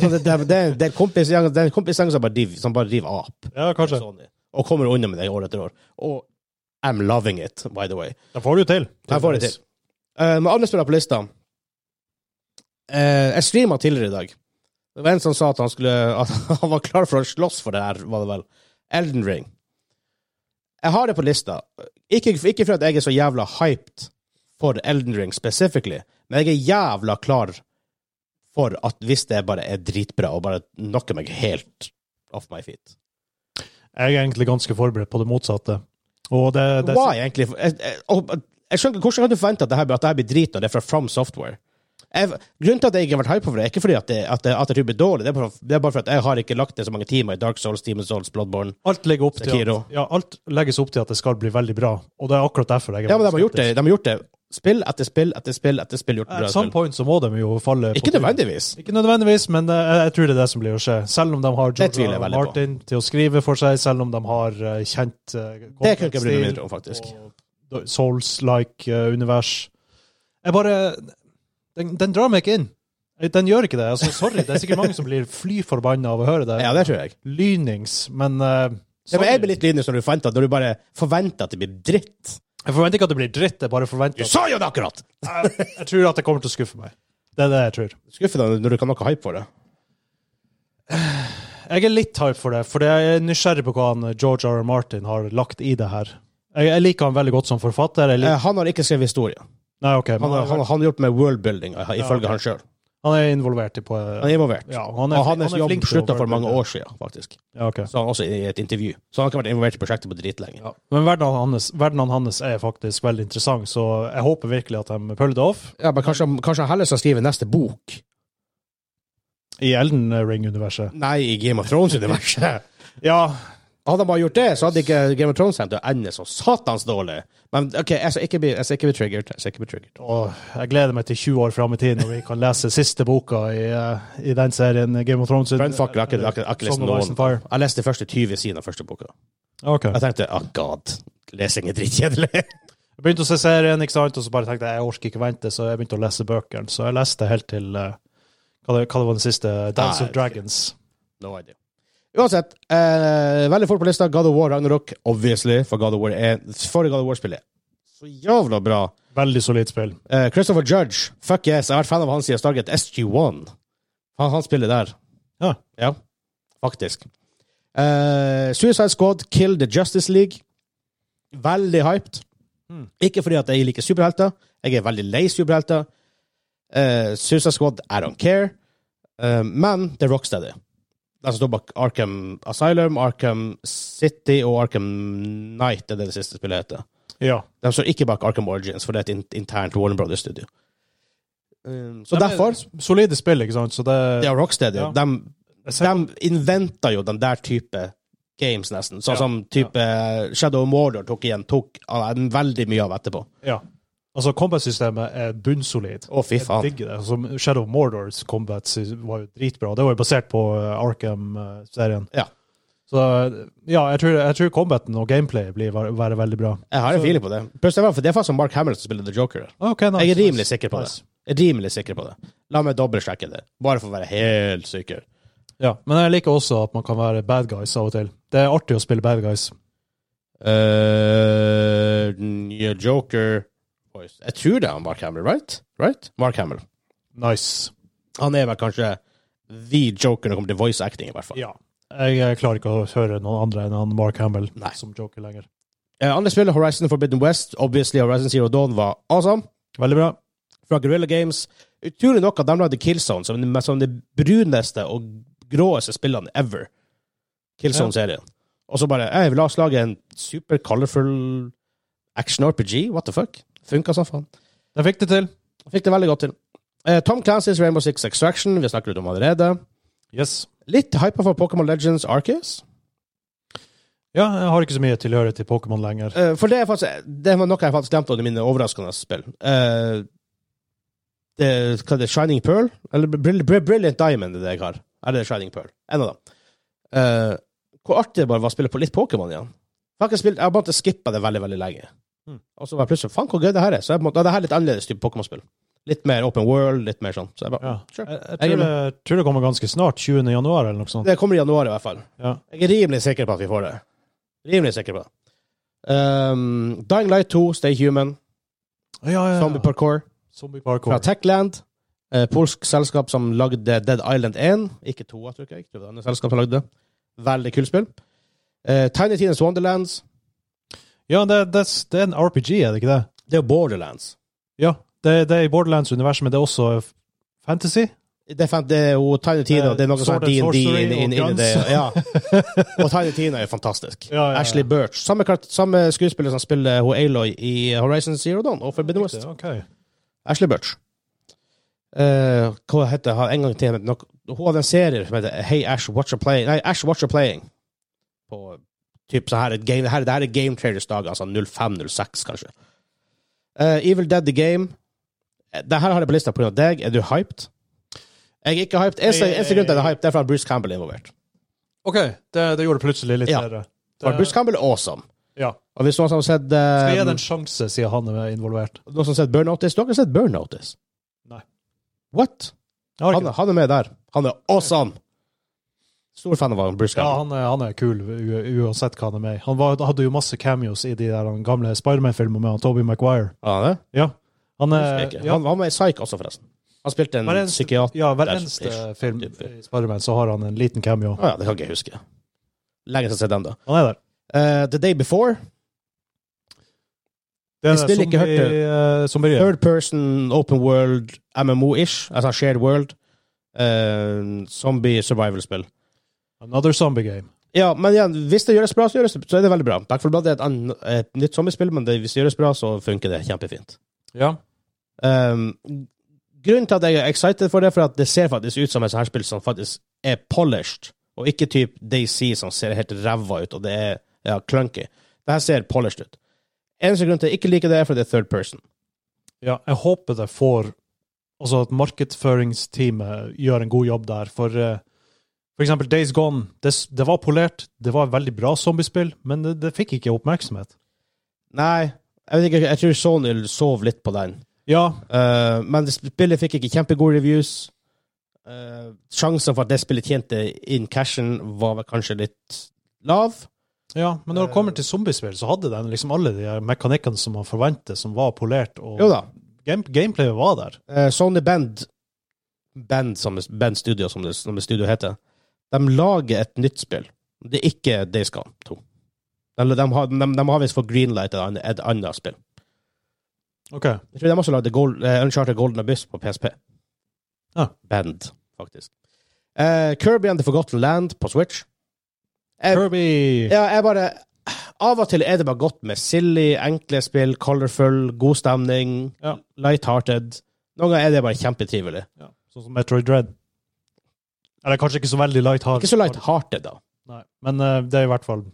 S1: Så det, det, det, det er en kompisgjeng det er en kompisgjeng som bare driver- som bare driver ap.
S2: Ja, kanskje.
S1: Sony, og kommer unna med det år etter år. Og I'm loving it, by the way.
S2: De får det jo til.
S1: Jeg får det til. Eh, Men andre spillere på lista Eh, Jeg streama tidligere i dag. Det var en som sa at han, skulle, at han var klar for å slåss for det her, var det vel. Elden Ring. Jeg har det på lista. Ikke, ikke for at jeg er så jævla hyped for Elden Ring specifically, men jeg er jævla klar for at hvis det bare er dritbra og bare knocker meg helt off my feet
S2: Jeg er egentlig ganske forberedt på det motsatte. Og det, det
S1: Why, egentlig? Jeg, jeg, og- jeg skjønner ikke hvordan kan du forvente at det her, at det her blir drit når det er fra From Software? jeg, grunnen til at jeg ikke har vært hype for det, er ikke fordi at det, at det, at det blir dårlig, det er, bare, det er bare for at jeg har ikke lagt ned så mange timer i Dark Souls, Demon's Souls, Bloodborne.
S2: Alt, legger opp til
S1: Sekiro.
S2: at, ja, alt legges opp til at det skal bli veldig bra, og det er akkurat derfor jeg er
S1: Ja, men de har
S2: veldig
S1: gjort det. De har gjort det. Spill etter spill etter spill etter spill. gjort
S2: skeptisk.
S1: bra
S2: At some
S1: spill.
S2: point så må de jo falle på
S1: Ikke
S2: trynet.
S1: nødvendigvis.
S2: Ikke nødvendigvis, men eh, jeg, jeg tror det er det som blir å skje. Selv om de har
S1: Det tviler jeg
S2: George R. R.
S1: veldig på.
S2: Martin til å skrive for seg, selv om de har eh, kjent uh,
S1: Det kunne jeg ikke bry meg mindre om, faktisk.
S2: og Souls-like eh, univers. Jeg bare den, den drar meg ikke inn. Eh, Den gjør ikke det. Altså, sorry, det er sikkert mange som blir fly forbanna av å høre det.
S1: Ja, det tror jeg.
S2: Lynings, men eh,
S1: Ja, men
S2: sorry.
S1: jeg blir litt lynisk når du forventer når du bare forventer at det blir dritt.
S2: jeg forventer ikke at det blir dritt, jeg bare
S1: Du
S2: forventer at
S1: sa jo det akkurat!
S2: jeg, jeg tror at det kommer til å skuffe meg. Det er det jeg tror.
S1: Skuffende når du kan noe hype for det.
S2: Jeg er litt hype for det, for jeg er nysgjerrig på hva han eh, George R. R. Martin har lagt i det her. Jeg, jeg liker han veldig godt som forfatter. Jeg
S1: Eh,
S2: liker,
S1: Han har ikke skrevet historie.
S2: nei, ok. men
S1: Han har, han, han har gjort med worldbuilding, eh, ifølge
S2: ok.
S1: han sjøl.
S2: han er involvert i på eh,
S1: Han er involvert.
S2: ja,
S1: Og hans jobb
S2: flink til å
S1: slutta for
S2: være-
S1: mange år siden, faktisk.
S2: Ja, ok.
S1: Så han også i et intervju. Så han har ikke vært involvert i prosjektet på dritlenge.
S2: Ja. Men verdenen hans, verdenen hans er faktisk veldig interessant, så jeg håper virkelig at de puller det off.
S1: Ja, men kanskje, kanskje han heller skal skrive neste bok?
S2: I Elden Ring-universet.
S1: Nei, i Game of Thrones-universet.
S2: Ja,
S1: Hadde han bare gjort det, så hadde ikke Game of Thrones hendt å ende så satans dårlig. Men ok, jeg skal ikke bli, jeg skal ikke bli triggered. Jeg skal ikke bli triggered.
S2: og jeg gleder meg til 20 år fram i tid, når vi kan lese siste boka i, eh, i den serien, Game of Thrones.
S1: Brannfucker, jeg har ikke- jeg har ikke- jeg har ikke lest
S2: Song of Ice and
S1: noen.
S2: Fire.
S1: Jeg leste de første 20 sidene av første boka.
S2: Ok.
S1: Jeg tenkte oh god, lesing er drittkjedelig.
S2: Jeg begynte å se serien, ikke sant, og så bare tenkte jeg jeg orker ikke vente, så jeg begynte å lese bøkene. Så jeg leste helt til eh, hva, det, hva det var den siste? Dance
S1: Nei,
S2: of Dragons.
S1: No idea. Uansett, eh, veldig fort på lista God of War Ragnarok, obviously, for God of War er forrige God of War-spillet. Så jævla bra.
S2: Veldig solid spill.
S1: Eh, Christopher Judge, fuck yes, jeg har vært fan av han siden Stargate SG1. Han, han spiller der.
S2: Ja.
S1: Ja, faktisk. Eh, Suicide Squad, Kill the Justice League. Veldig hyped.
S2: Mm.
S1: Ikke fordi at jeg liker superhelter. Jeg er veldig lei superhelter. Eh, Suicide Squad, I don't care. Eh, men det er Rocksteady. De som står bak Arkham Asylum, Arkham City og Arkham Knight, er det det siste spillet heter.
S2: ja.
S1: De står ikke bak Arkham Origins, for det er et in- internt Warner Brothers studio. Um, så
S2: Nei, men-
S1: derfor
S2: Solide spill, ikke sant, så det
S1: Det er Rocksteady.
S2: Ja.
S1: De,
S2: Jeg ser-
S1: de inventa jo den der type games, nesten. Sånn
S2: Ja,
S1: som type eh, Shadow of Mordor tok igjen tok ah, en veldig mye av etterpå.
S2: Ja. Altså, combat-systemet er bunnsolid.
S1: Å, fy
S2: Jeg
S1: faen.
S2: digger det. Altså, Shadow of Mordors combat sy- var jo dritbra. Det var jo basert på eh, Arkham-serien.
S1: Ja.
S2: Så ja, jeg tror, jeg tror combaten og gameplay blir være, være veldig bra.
S1: Jeg har en
S2: Så-
S1: feeling på det. Pluss, det var- det er faktisk Mark Hamill som spiller The Joker. der.
S2: Ok, nice,
S1: Jeg er rimelig
S2: nice,
S1: sikker på det.
S2: nice.
S1: Jeg er rimelig sikker på det. La meg dobbeltsjekke det, bare for å være helt sikker.
S2: Ja, men jeg liker også at man kan være bad guys av og til. Det er artig å spille bad guys.
S1: Eh, nye Joker voice. Jeg tror det er Mark Hamill, right? right? Mark Hamill.
S2: Nice.
S1: Han er vel kanskje the joker når det kommer til voice acting, i hvert fall.
S2: Ja. Jeg, eh, klarer ikke å høre noen andre enn han Mark Hamill
S1: Nei.
S2: som joker lenger.
S1: Eh, andre spillet, Horizon Forbidden West, obviously Horizon Zero Dawn var awesome.
S2: Veldig bra.
S1: Fra Guerrilla Games. Utrolig nok at de lagde Killzone som, det- som det bruneste og gråeste spillene ever. Killzone-serien. Og så bare hey, La oss lage en super colorful action-RPG. What the fuck? Funka som faen.
S2: Jeg fikk det til.
S1: Fikk det veldig godt til. Eh, Tom Clancy's Rainbow Six Extraction, vi snakker litt om allerede.
S2: Yes.
S1: Litt hypa for Pokémon Legends Arceus.
S2: Ja, jeg har ikke så mye tilhørighet til Pokémon lenger.
S1: Eh, for det er faktisk Det var noe jeg faktisk glemte under mine overraskende spill. Eh, det, hva er det, Shining Pearl? Eller Brill- Brill- Brilliant Diamond er det jeg har. Eller Shining Pearl. En av dem. Eh, hvor artig det bare var å spille på litt Pokémon igjen. Jeg har, ikke spilt, jeg har bare skippa det veldig veldig lenge.
S2: Mm.
S1: Og så var jeg plutselig Faen, hvor gøy det her er. Så jeg, måtte- ja, det her er litt annerledes type Pokémon-spill. Litt mer open world, litt mer sånn. Så jeg bare,
S2: Ja.
S1: sure.
S2: Jeg, jeg,
S1: Jeg er
S2: tror det, tror det kommer ganske snart. 20. januar eller noe
S1: Sånn.
S2: sånt.
S1: Det kommer i januar, i hvert fall.
S2: Ja.
S1: Jeg er rimelig sikker på at vi får det. Rimelig sikker på det. Um, Dying Light 2, Stay Human,
S2: Ja, ja, ja.
S1: Zombie Parkour.
S2: Zombie Parkour.
S1: fra Techland. Eh, polsk selskap som lagde Dead Island 1. Ikke 2, tror jeg. Det var et annet selskap som lagde det. Veldig kult spill. Eh, Tiny Tines Wonderlands.
S2: Ja, det, det, det er en RPG, er det ikke det?
S1: Det er jo Borderlands.
S2: Ja. Det, det er i Borderlands-universet, men det er også f- fantasy.
S1: Det er, fan- det er jo Tiny Tina, og det er noe sånn
S2: Sword and
S1: D&D
S2: Sorcery
S1: inni inn, inn
S2: og
S1: i det. Ja. Og Tiny Tina er jo fantastisk.
S2: Ja, ja, ja.
S1: Ashley Birch. Samme, kar- samme skuespiller som spiller hun Aloy i Horizon Zero Dawn og Forbidden West.
S2: Ok.
S1: Ashley Birch. eh, hva heter det, har en gang til men nok, Hun hadde en serie som heter eh, Hey Ash, Watch Her Playing. Nei, Ash, Watch Her Playing. På typ så her, er game, det, her, det her er Game Traders dag, altså 05-06, kanskje. Eh, Evil Dead The Game. Eh, Det her har jeg på lista pga. deg. Er du hyped? Jeg er ikke hyped. Eneste eneste grunn til at jeg er hyped, det er for at Bruce Campbell er involvert.
S2: OK, det, det gjorde plutselig litt
S1: Ja.
S2: bedre.
S1: For
S2: Det-
S1: Bruce Campbell er awesome.
S2: ja.
S1: Og hvis noen som har sett
S2: Skal jeg gi
S1: eh,
S2: det en sjanse, siden han er involvert?
S1: Noen som har sett Burn Notice? Dere har sett Burn Notice?
S2: Nei.
S1: What?
S2: Jeg har
S1: Han,
S2: ikke det.
S1: han er med der. Han er awesome! Stor fan av han, Bruce
S2: Ja,
S1: Campbell.
S2: han er, han er kul, u- uansett hva han er med i. Han var, hadde jo masse cameos i de der han gamle Spiderman-filmene med han Tobey Maguire.
S1: Ja, han, er.
S2: Ja. Han
S1: Husker jeg
S2: er
S1: ikke.
S2: ja,
S1: han han var i Psych også, forresten. Han spilte en
S2: Hver eneste-
S1: psykiater.
S2: ja, hver
S1: der,
S2: eneste
S1: ish,
S2: film
S1: typ.
S2: i Spiderman så har han en liten cameo.
S1: Å ja, det kan ikke jeg huske. Lenge siden jeg har sett den, da.
S2: Han er der.
S1: Eh, The Day Before,
S2: Det er
S1: Hvis dere ikke hørte-
S2: zombie- eh, zombier.
S1: third person, open world, MMO-ish, altså shared world, eh, zombie survival-spill.
S2: Another zombie game.
S1: Ja, men igjen, hvis det gjøres bra, så, gjøres det, så er det veldig bra. Back 4 Blood er et, an, et nytt zombiespill, men det, hvis det gjøres bra, så funker det kjempefint.
S2: Ja.
S1: Um, grunnen til at jeg er excited for det, er for at det ser faktisk ut som et sånt her spill som faktisk er polished, og ikke typ DC som ser helt ræva ut, og det er ja, clunky. Det her ser polished ut. Eneste grunn til at jeg ikke liker det, er fordi det er third person.
S2: ja. Jeg håper det får Altså at markedsføringsteamet gjør en god jobb der, for eh, for eksempel Days Gone. Det, s- det var polert, det var et veldig bra zombiespill, men det, det fikk ikke oppmerksomhet.
S1: Nei, jeg vet ikke, jeg tror Sony sov litt på den.
S2: Ja,
S1: Uh, men det spillet fikk ikke kjempegode reviews. Uh, sjansen for at det spillet tjente in cashen, var vel kanskje litt lav.
S2: ja men når det kommer til zombiespill, så hadde den liksom alle de her mekanikkene som man forventer, som var polert, og
S1: Jo da.
S2: game, gameplayet var der.
S1: Uh, Sony Band, Band, som, Band Studio, som det, som det studio heter, de lager et nytt spill. Det er ikke Days Gone 2. De, de, har- de, de har visst fått greenlight et annet- et annet spill.
S2: Ok.
S1: Jeg tror de også lagde Gold, eh, Uncharted Golden Abyss på PSP.
S2: Ah.
S1: Band, faktisk. Eh, Kirby and the Forgotten Land på Switch. Jeg-
S2: Kirby!
S1: Ja, jeg bare Av og til er det bare godt med silly, enkle spill, colorful, god stemning,
S2: Ja.
S1: lighthearted. Noen ganger er det bare kjempetrivelig.
S2: Ja, Sånn som Metroid Dread. Eller kanskje ikke så veldig light hard.
S1: Ikke så lighthearted, da.
S2: Nei, men eh, det er i hvert fall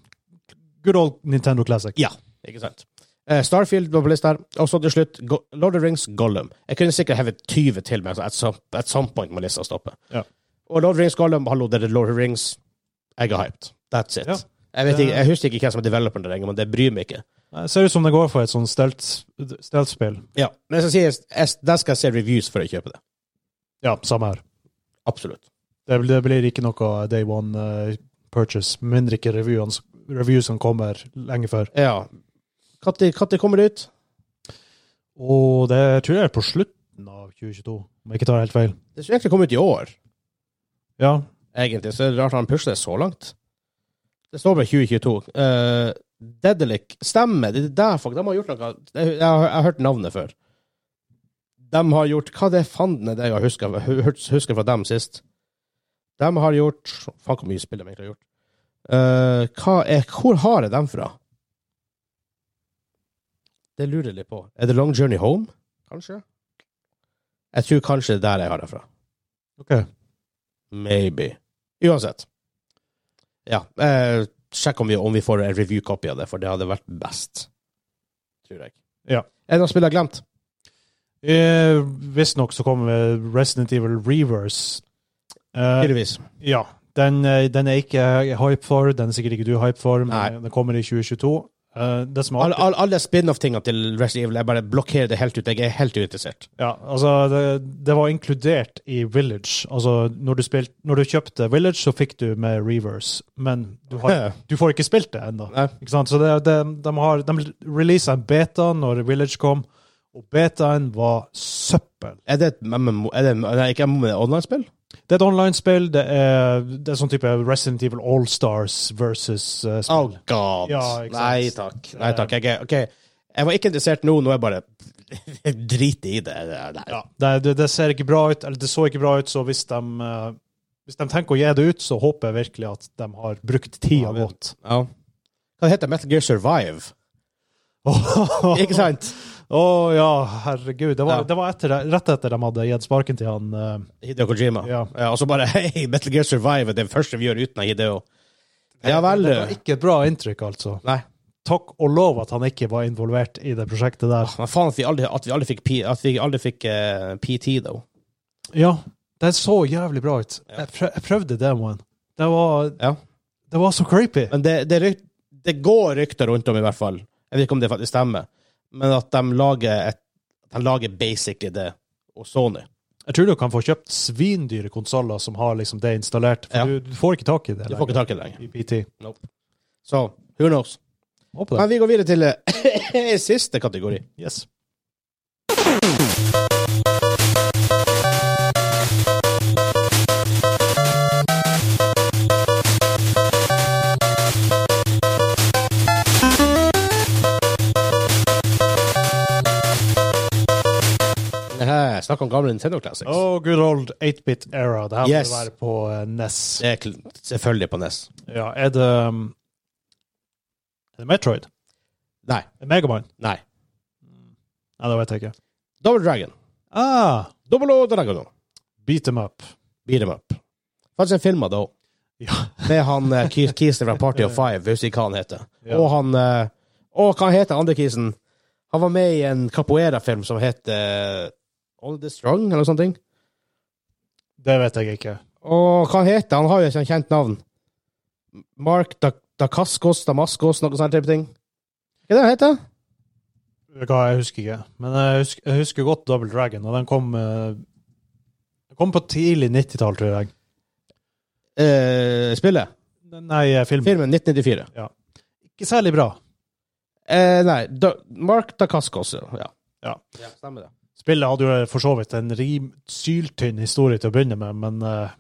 S2: good old Nintendo Classic.
S1: Ja. Ikke sant? Eh, Starfield var på lista her. Og så til slutt Go Lord of the Rings Gollum. Jeg kunne sikkert hevet 20 til, men altså, at some, at some point må lista stoppe.
S2: Ja.
S1: Og Lord of the Rings Gollum, hallo, det er Lord of the Rings. Jeg er hyped. That's it.
S2: Ja.
S1: Jeg, vet ikke, jeg husker ikke hvem som er developeren der engang, men det bryr meg ikke.
S2: Nei, Det Eh, ser ut som det går for et sånn stealth- stealth-spill.
S1: Ja. Men jeg skal si, jeg, der skal jeg se reviews før jeg kjøper det.
S2: ja, samme her.
S1: Absolutt.
S2: Det, blir- det blir ikke noe day one eh, purchase, med mindre ikke revyene- revyene kommer lenge før.
S1: Ja. Når kommer det ut?
S2: Og det tror jeg er på slutten av 2022, om jeg ikke tar helt feil.
S1: Det skulle egentlig komme ut i år,
S2: Ja,
S1: egentlig. Så det er rart han pusher det så langt. Det står bare 2022. Uh, Dedelic Stemmer. Det er der folk De har gjort noe Jeg, jeg, har, jeg har hørt navnet før. De har gjort Hva det fanden er det jeg husker, hu- hus- husker fra dem sist? De har gjort Faen, hvor mye spill de egentlig har gjort. Eh, hva er, hvor har jeg dem fra? Det lurer jeg litt på. Er det Long Journey Home? Kanskje? Jeg tror kanskje det er der jeg har dem fra.
S2: ok.
S1: Maybe. Uansett. Ja. Eh, sjekk om vi, om vi får en review-copy av det, for det hadde vært best. Tror jeg.
S2: Ja.
S1: Er det noe spill jeg har glemt?
S2: Eh, Visstnok så kommer Resident Evil Reverse. Eh,
S1: Tydeligvis.
S2: Ja. Den, eh, den er ikke jeg hype for, den er sikkert ikke du hype for, men
S1: Nei.
S2: den kommer i 2022. Eh, det som er
S1: All,
S2: artig,
S1: all, alle spin-off-tingene til Resident Evil, jeg bare blokkerer det helt ut. Jeg er helt uinteressert.
S2: ja, altså, det, det var inkludert i Village. Altså, når du, spilt, når du kjøpte Village, så fikk du med Reverse, men du, har,
S1: Ja.
S2: du får ikke spilt det ennå.
S1: Nei.
S2: Ikke sant? Så det, det, de, har- de releasa en beta når Village kom, og betaen var søppel.
S1: Er det et MMO er det, Nei, ikke MMO, men online-spill?
S2: Det er et online-spill. Det, er- det er sånn type Resident Evil All-Stars versus eh,
S1: Oh
S2: spill.
S1: god.
S2: Ja, ikke sant.
S1: Nei takk. Nei takk. Jeg, er- ok. jeg var ikke interessert nå, nå er jeg bare Driter i det. Nei.
S2: Ja, det, det, det ser ikke bra ut, eller det så ikke bra ut, så hvis de, eh, hvis de tenker å gi det ut, så håper jeg virkelig at de har brukt tida
S1: Ja, men-
S2: godt.
S1: Oh. Ja. Hva heter det? Metal Gear Survive? Ikke sant?
S2: Å ja, herregud. Det var,
S1: Ja.
S2: det var etter, rett etter de hadde gitt sparken til han eh,
S1: Hideo Kojima.
S2: Ja.
S1: og så bare Hei, Metal Gear Survive er det første vi gjør uten Hideo. Ja vel,
S2: Det var
S1: du.
S2: ikke et bra inntrykk, altså.
S1: Nei.
S2: Takk og lov at han ikke var involvert i det prosjektet der.
S1: Men faen at vi aldri, at vi aldri fikk, P, at vi aldri fikk eh, PT, da.
S2: Ja, det så jævlig bra ut.
S1: Ja.
S2: Jeg, prøv, jeg prøvde demoen. Det var,
S1: Ja.
S2: det var så creepy.
S1: Men det, det, ryk, det går rykter rundt om, i hvert fall. Jeg vet ikke om det faktisk stemmer. Men at de lager, et, at de lager basically det, og Sony.
S2: Jeg tror du kan få kjøpt svindyre konsoller som har liksom det installert. For
S1: Ja.
S2: du, du får ikke tak i det.
S1: Du får ikke tak i det lenger.
S2: i PT.
S1: Så who knows?
S2: Håper det.
S1: Men vi går videre til eh, siste kategori.
S2: Yes.
S1: Ehe, Snakk om gamle Nintendo Classics.
S2: Oh, good old 8-bit era. Det her må
S1: Yes.
S2: det være på eh, NES.
S1: Det er kl- selvfølgelig på E NES.
S2: Ja, er det um, Er det Metroid?
S1: Nei.
S2: Er det Megaman?
S1: Nei.
S2: Nei, det vet jeg ikke.
S1: Double Dragon.
S2: Ah,
S1: Double O Dragon.
S2: beat them up.
S1: Beat em up. Faktisk en film av det òg.
S2: Ja.
S1: Med han eh, Keith Keeser fra Party of Five, hvis ikke hva han heter.
S2: Ja.
S1: Og han eh, Og hva heter andre Keesen? Han var med i en capoeira-film som heter All the Strong, eller noe sånt.
S2: Det vet jeg ikke.
S1: Og hva heter han? Han har jo et sånt kjent navn. Mark da Dacascos, Damaskos, noe sånt type ting. Hva er det han heter?
S2: Hva, jeg husker ikke. Men jeg husker, jeg husker godt Double Dragon, og den kom eh, Den kom på tidlig 90-tall, tror jeg.
S1: Eh, spillet?
S2: Nei, eh, filmen.
S1: Filmen 1994.
S2: Ikke særlig bra.
S1: Eh, nei, da Mark Dacascos, ja.
S2: Ja.
S1: Stemmer det.
S2: Spillet hadde jo eh, for så vidt en rim, syltynn historie til å begynne med, men eh,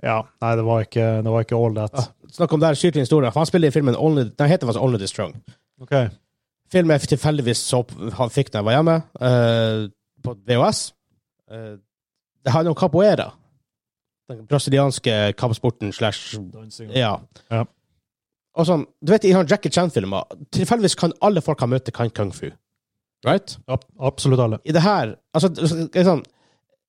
S2: ja, nei, det var ikke, det var ikke all that.
S1: Ah, Snakk om der skyter historier. For han spiller i filmen Only, Den heter faktisk Only the Strong.
S2: Ok.
S1: Filmen jeg tilfeldigvis så opp, han fikk da jeg var hjemme, eh, på VHS. Eh, det handler om capoeira. Den brasilianske kampsporten slash Ja.
S2: Ja.
S1: Og sånn, du vet i han Jackie Chan-filmer, tilfeldigvis kan alle folk han møter, kan kung fu. Right?
S2: Ab absolutt alle.
S1: I det her altså, det er sånn,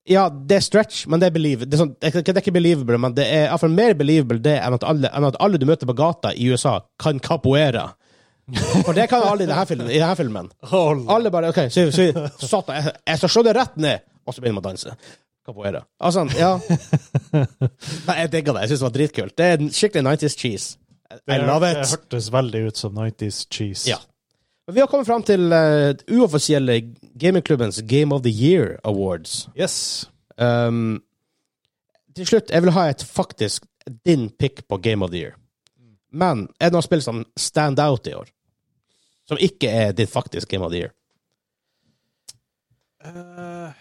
S1: Ja, det er stretch, men det er believable. Det er, sånn, det er ikke- det er ikke believable, men det er i hvert fall mer believable det enn at alle, enn at alle du møter på gata i USA, kan capoeira. For det kan alle i denne filmen. I denne filmen. Alle bare OK, så, så, satan, jeg, jeg skal slå det rett ned! Og så begynner man å danse. Capoeira. Altså, ja. Nei, jeg digga det. Jeg syns det var dritkult. Det er en skikkelig 90's cheese. I love
S2: Det
S1: it.
S2: hørtes veldig ut som 90s cheese.
S1: Ja. Vi har kommet fram til eh, uoffisielle gamingklubbens Game of the Year Awards.
S2: Yes.
S1: Um, til slutt, jeg vil ha et faktisk din pick på Game of the Year. Men er det noen spill som stand out i år? Som ikke er ditt faktisk Game of the Year?
S2: Eh,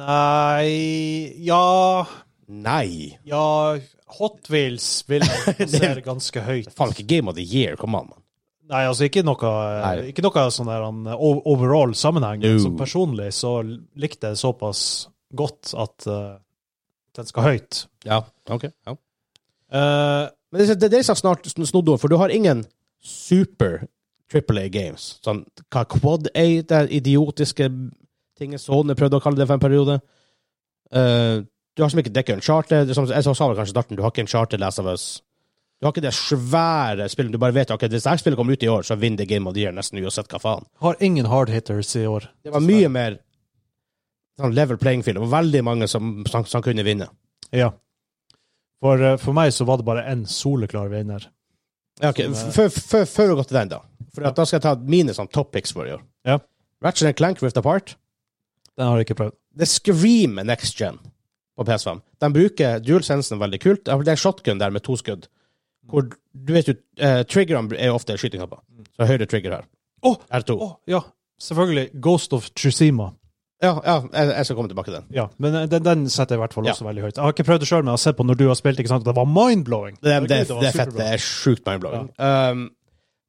S2: nei Ja
S1: Nei.
S2: Ja, Hot Wheels vil jeg plassere ganske høyt.
S1: Faen ikke Game of the Year, kom an, mann.
S2: Nei, altså ikke noe,
S1: Nei.
S2: ikke noe sånn der an- o- overall sammenheng.
S1: No.
S2: men Så personlig så likte jeg det såpass godt at eh, den skal høyt.
S1: Ja, ok. Ja.
S2: Eh,
S1: Men det, det, det er så snart sn- snodd over, for du har ingen super Triple A-games. Sånn, hva Quad A, det er idiotiske tinget Sony prøvde å kalle det for en periode. Eh, du har som ikke dekket en charter. Som, jeg sa sa vel kanskje i starten, du har ikke en charter Last of Us. Du har ikke det svære spillet. Du bare vet ok, hvis dette spillet kommer ut i år, så vinner det Game of the Year nesten uansett hva faen.
S2: har ingen hard hitters i år.
S1: Det var mye mer sånn level playing field. Det var veldig mange som, som, som kunne vinne.
S2: Ja. For, eh, for meg så var det bare én soleklar vinner.
S1: Ja, ok.
S2: Som, eh,
S1: Før- Før før vi går til den, da. For
S2: Ja.
S1: at da skal jeg ta mine sånn topics for i år.
S2: Ja.
S1: Ratchet and Clank Rift Apart.
S2: Den har jeg ikke prøvd.
S1: Det screamer next gen på PS5. De bruker dual-sensen veldig kult. Det er en shotgun der med to skudd. Hvor du vet jo eh, Triggeren er ofte skytingknapper. Så høyre trigger her.
S2: Å!
S1: R2.
S2: Å, ja. Selvfølgelig. Ghost of Tsushima.
S1: Ja, ja jeg, jeg skal komme tilbake til den.
S2: Ja, men eh, den, den setter jeg i hvert fall
S1: Ja.
S2: også veldig høyt. Jeg har ikke prøvd det sjøl, men jeg har sett på når du har spilt, ikke sant? og det var mind-blowing.
S1: Det, det,
S2: Herregud,
S1: det,
S2: var
S1: er fett.
S2: superbra.
S1: Det er sjukt mindblowing. Um,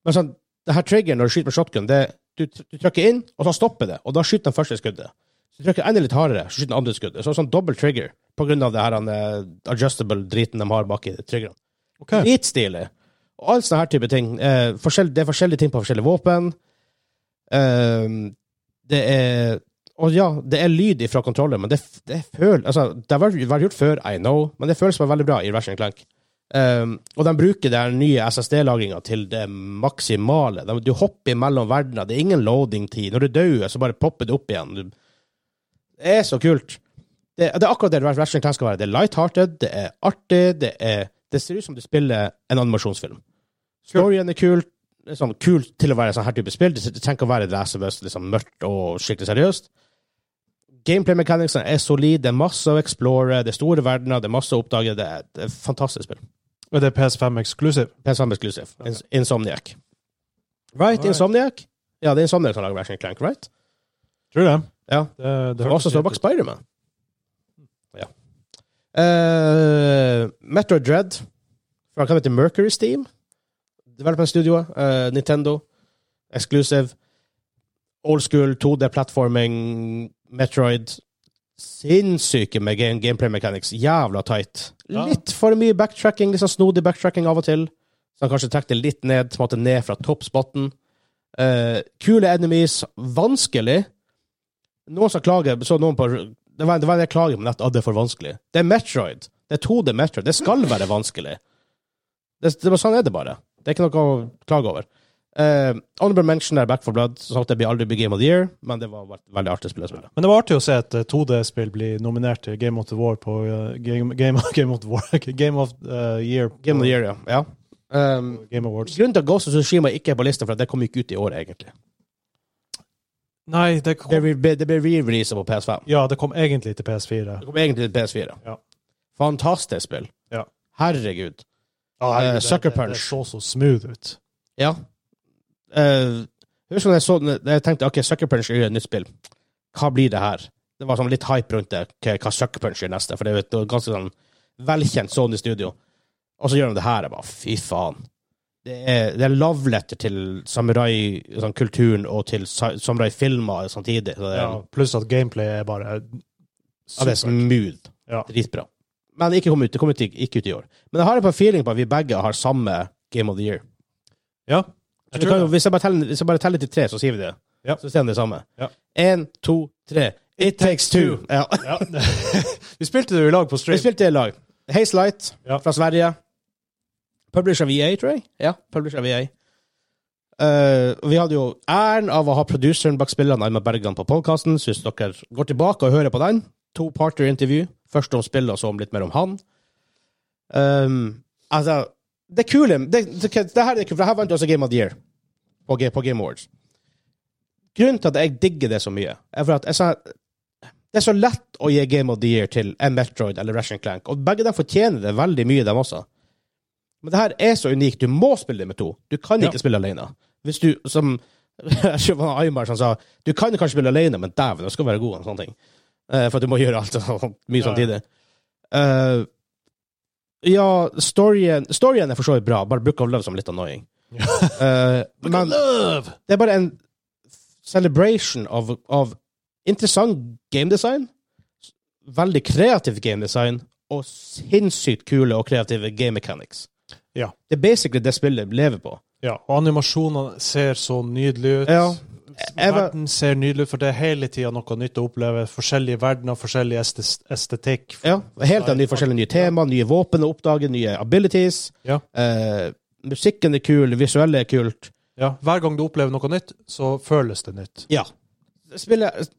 S1: men sånn, det her triggeren når du skyter med shotgun, det, du, du trykker inn, og så stopper det. Og da skyter den første skuddet. Så du trykker enda litt hardere, så skyter den andre skuddet. Så sånn dobbel trigger på grunn av det her han, eh, adjustable-driten de har bak i triggeren.
S2: Ok.
S1: Dritstilig. Og all sånne her type ting. Eh, forskjell, det er forskjellige ting på forskjellige våpen. Um, Det er Og ja, det er lyd ifra kontroller, men det, det føles altså, Det har vært, vært gjort før, I know, men det føles bare veldig bra i Ratchet Clank. Um, og de bruker den nye SSD-lagringa til det maksimale. De, du hopper mellom verdener. Det er ingen loading-tid. Når du dør, så bare popper det opp igjen. Du, det er så kult. Det, det er akkurat det Ratchet Clank skal være. Det er light-hearted, det er artig, det, er, det ser ut som du spiller en animasjonsfilm. Storyen er kul. Det er sånn kult til å være sånn her type spill. Det det trenger ikke å være lesebøst, liksom mørkt og skikkelig seriøst. Gameplay mechanicsene er solide. Det er masse å explore, det er store verdener, det er masse å oppdage. Det er det er et fantastisk spill.
S2: Er det PS5 eksklusiv?
S1: PS5 Exclusive. Ins- Insomniac. Right,
S2: Alright.
S1: Insomniac? Ja, det er Insomniac som lager Ratchet Clank, right?
S2: Tror det.
S1: Ja.
S2: Det, det
S1: Som også står bak Spiderman. Ja. Uh, Metro Dread fra hva heter Mercury Steam. Development Studio, eh, Nintendo. Exclusive. Old school 2D-plattforming. Metroid. Sinnssyke med game gameplay mechanics. Jævla tight.
S2: Ja.
S1: Litt for mye backtracking. Litt sånn snodig backtracking av og til. Så han kanskje trakk det litt ned, på en måte ned fra toppspotten. Eh, kule enemies. Vanskelig. Noen som klager, så noen på Det var, det var en del klager på nett at det er for vanskelig. Det er Metroid. Det er 2D Metroid. Det skal være vanskelig. Det, det, var- sånn er det bare. Det er ikke noe å klage over. Uh, Honorable mention er Back for Blood. Som sagt, det blir aldri blir Game of the Year, men det var et veldig artig spill å spille.
S2: Men det var artig å se eh, et 2D-spill bli nominert til Game of the War på eh, Game, game, game of the War Game of eh, Year på
S1: Game of the Year, ja. ja. Um,
S2: Game Awards.
S1: grunnen til at Ghost of Tsushima ikke er på lista, for at det kom ikke ut i året, egentlig.
S2: Nei, det
S1: Det
S2: kom,
S1: ble, det ble re-releasa på PS5.
S2: ja, det kom egentlig til PS4.
S1: Det kom egentlig til PS4.
S2: Ja.
S1: Fantastisk spill.
S2: Ja.
S1: Herregud.
S2: Ja,
S1: Eh,
S2: det-
S1: Sucker
S2: det- Det
S1: Punch.
S2: så så smooth ut.
S1: Ja. Eh, husker når jeg så den, jeg tenkte ok, Sucker Punch er jo et nytt spill. Hva blir det her? Det var sånn litt hype rundt det, hva- hva Sucker Punch gjør neste. For det er jo et ganske sånn velkjent Sony Studio. Og så gjør de det her. Jeg bare, fy faen. Det er, det er love letter til samurai-kulturen og til sa- samurai-filmer samtidig. Så det er,
S2: Ja, pluss at gameplay er bare
S1: ja, det er
S2: supert.
S1: smooth.
S2: Ja.
S1: Dritbra. Men ikke kom ut, det kom ut, i- ikke ut i år. Men jeg har en feeling på at vi begge har samme Game of the Year.
S2: Ja,
S1: Så
S2: jeg
S1: vi
S2: tror
S1: kan, jo-
S2: det.
S1: hvis, jeg bare teller, hvis jeg bare teller til tre, så sier vi det.
S2: Ja.
S1: Så sier han det samme.
S2: Ja.
S1: En, to, tre. It takes two. Ja.
S2: Ja. Vi spilte det jo i lag på
S1: Vi
S2: stream.
S1: spilte i lag. Haze Light
S2: Ja.
S1: fra Sverige. Publisher VA, tror jeg. Ja, publisher VA. Eh, og vi hadde jo æren av å ha produseren bak spillene, Alma Bergan, på podkasten. Så hvis dere går tilbake og hører på den, to-parter-intervju, først om spillet og så om litt mer om han Ehm, Altså, det kule det, det, det her er kult, for det her vant også Game of the Year på, G- på Game Awards. Grunnen til at jeg digger det så mye, er for at jeg sa det er så lett å gi Game of the Year til en Metroid eller Ratchet Clank, og begge de fortjener det veldig mye, dem også. Men det her er så unikt. Du må spille det med to. Du kan
S2: Ja.
S1: ikke spille alene. Hvis du, som jeg tror det var Aymar som sa, du kan kanskje spille alene, men dæven, du skal være god og sånne ting. Eh, for at du må gjøre alt og sånt, mye
S2: Ja.
S1: samtidig. Eh, ja, storyen, storyen er for så vidt bra, bare Book of Love som litt annoying. Eh, men
S2: Love!
S1: det er bare en celebration av, av interessant gamedesign, veldig kreativt gamedesign, og sinnssykt kule og kreative game mechanics.
S2: Ja.
S1: Det er basically det spillet lever på.
S2: Ja, og animasjonene ser så nydelig ut.
S1: Ja. Jeg var-
S2: Verden ser nydelig ut, for det er hele tida noe nytt å oppleve. Forskjellige verdener, forskjellig estes- estetikk.
S1: Ja, helt av nye forskjellige nye tema, nye våpen å oppdage, nye abilities.
S2: Ja.
S1: Eh, musikken er kul, det visuelle er kult.
S2: Ja, Hver gang du opplever noe nytt, så føles det nytt.
S1: Ja. Spillet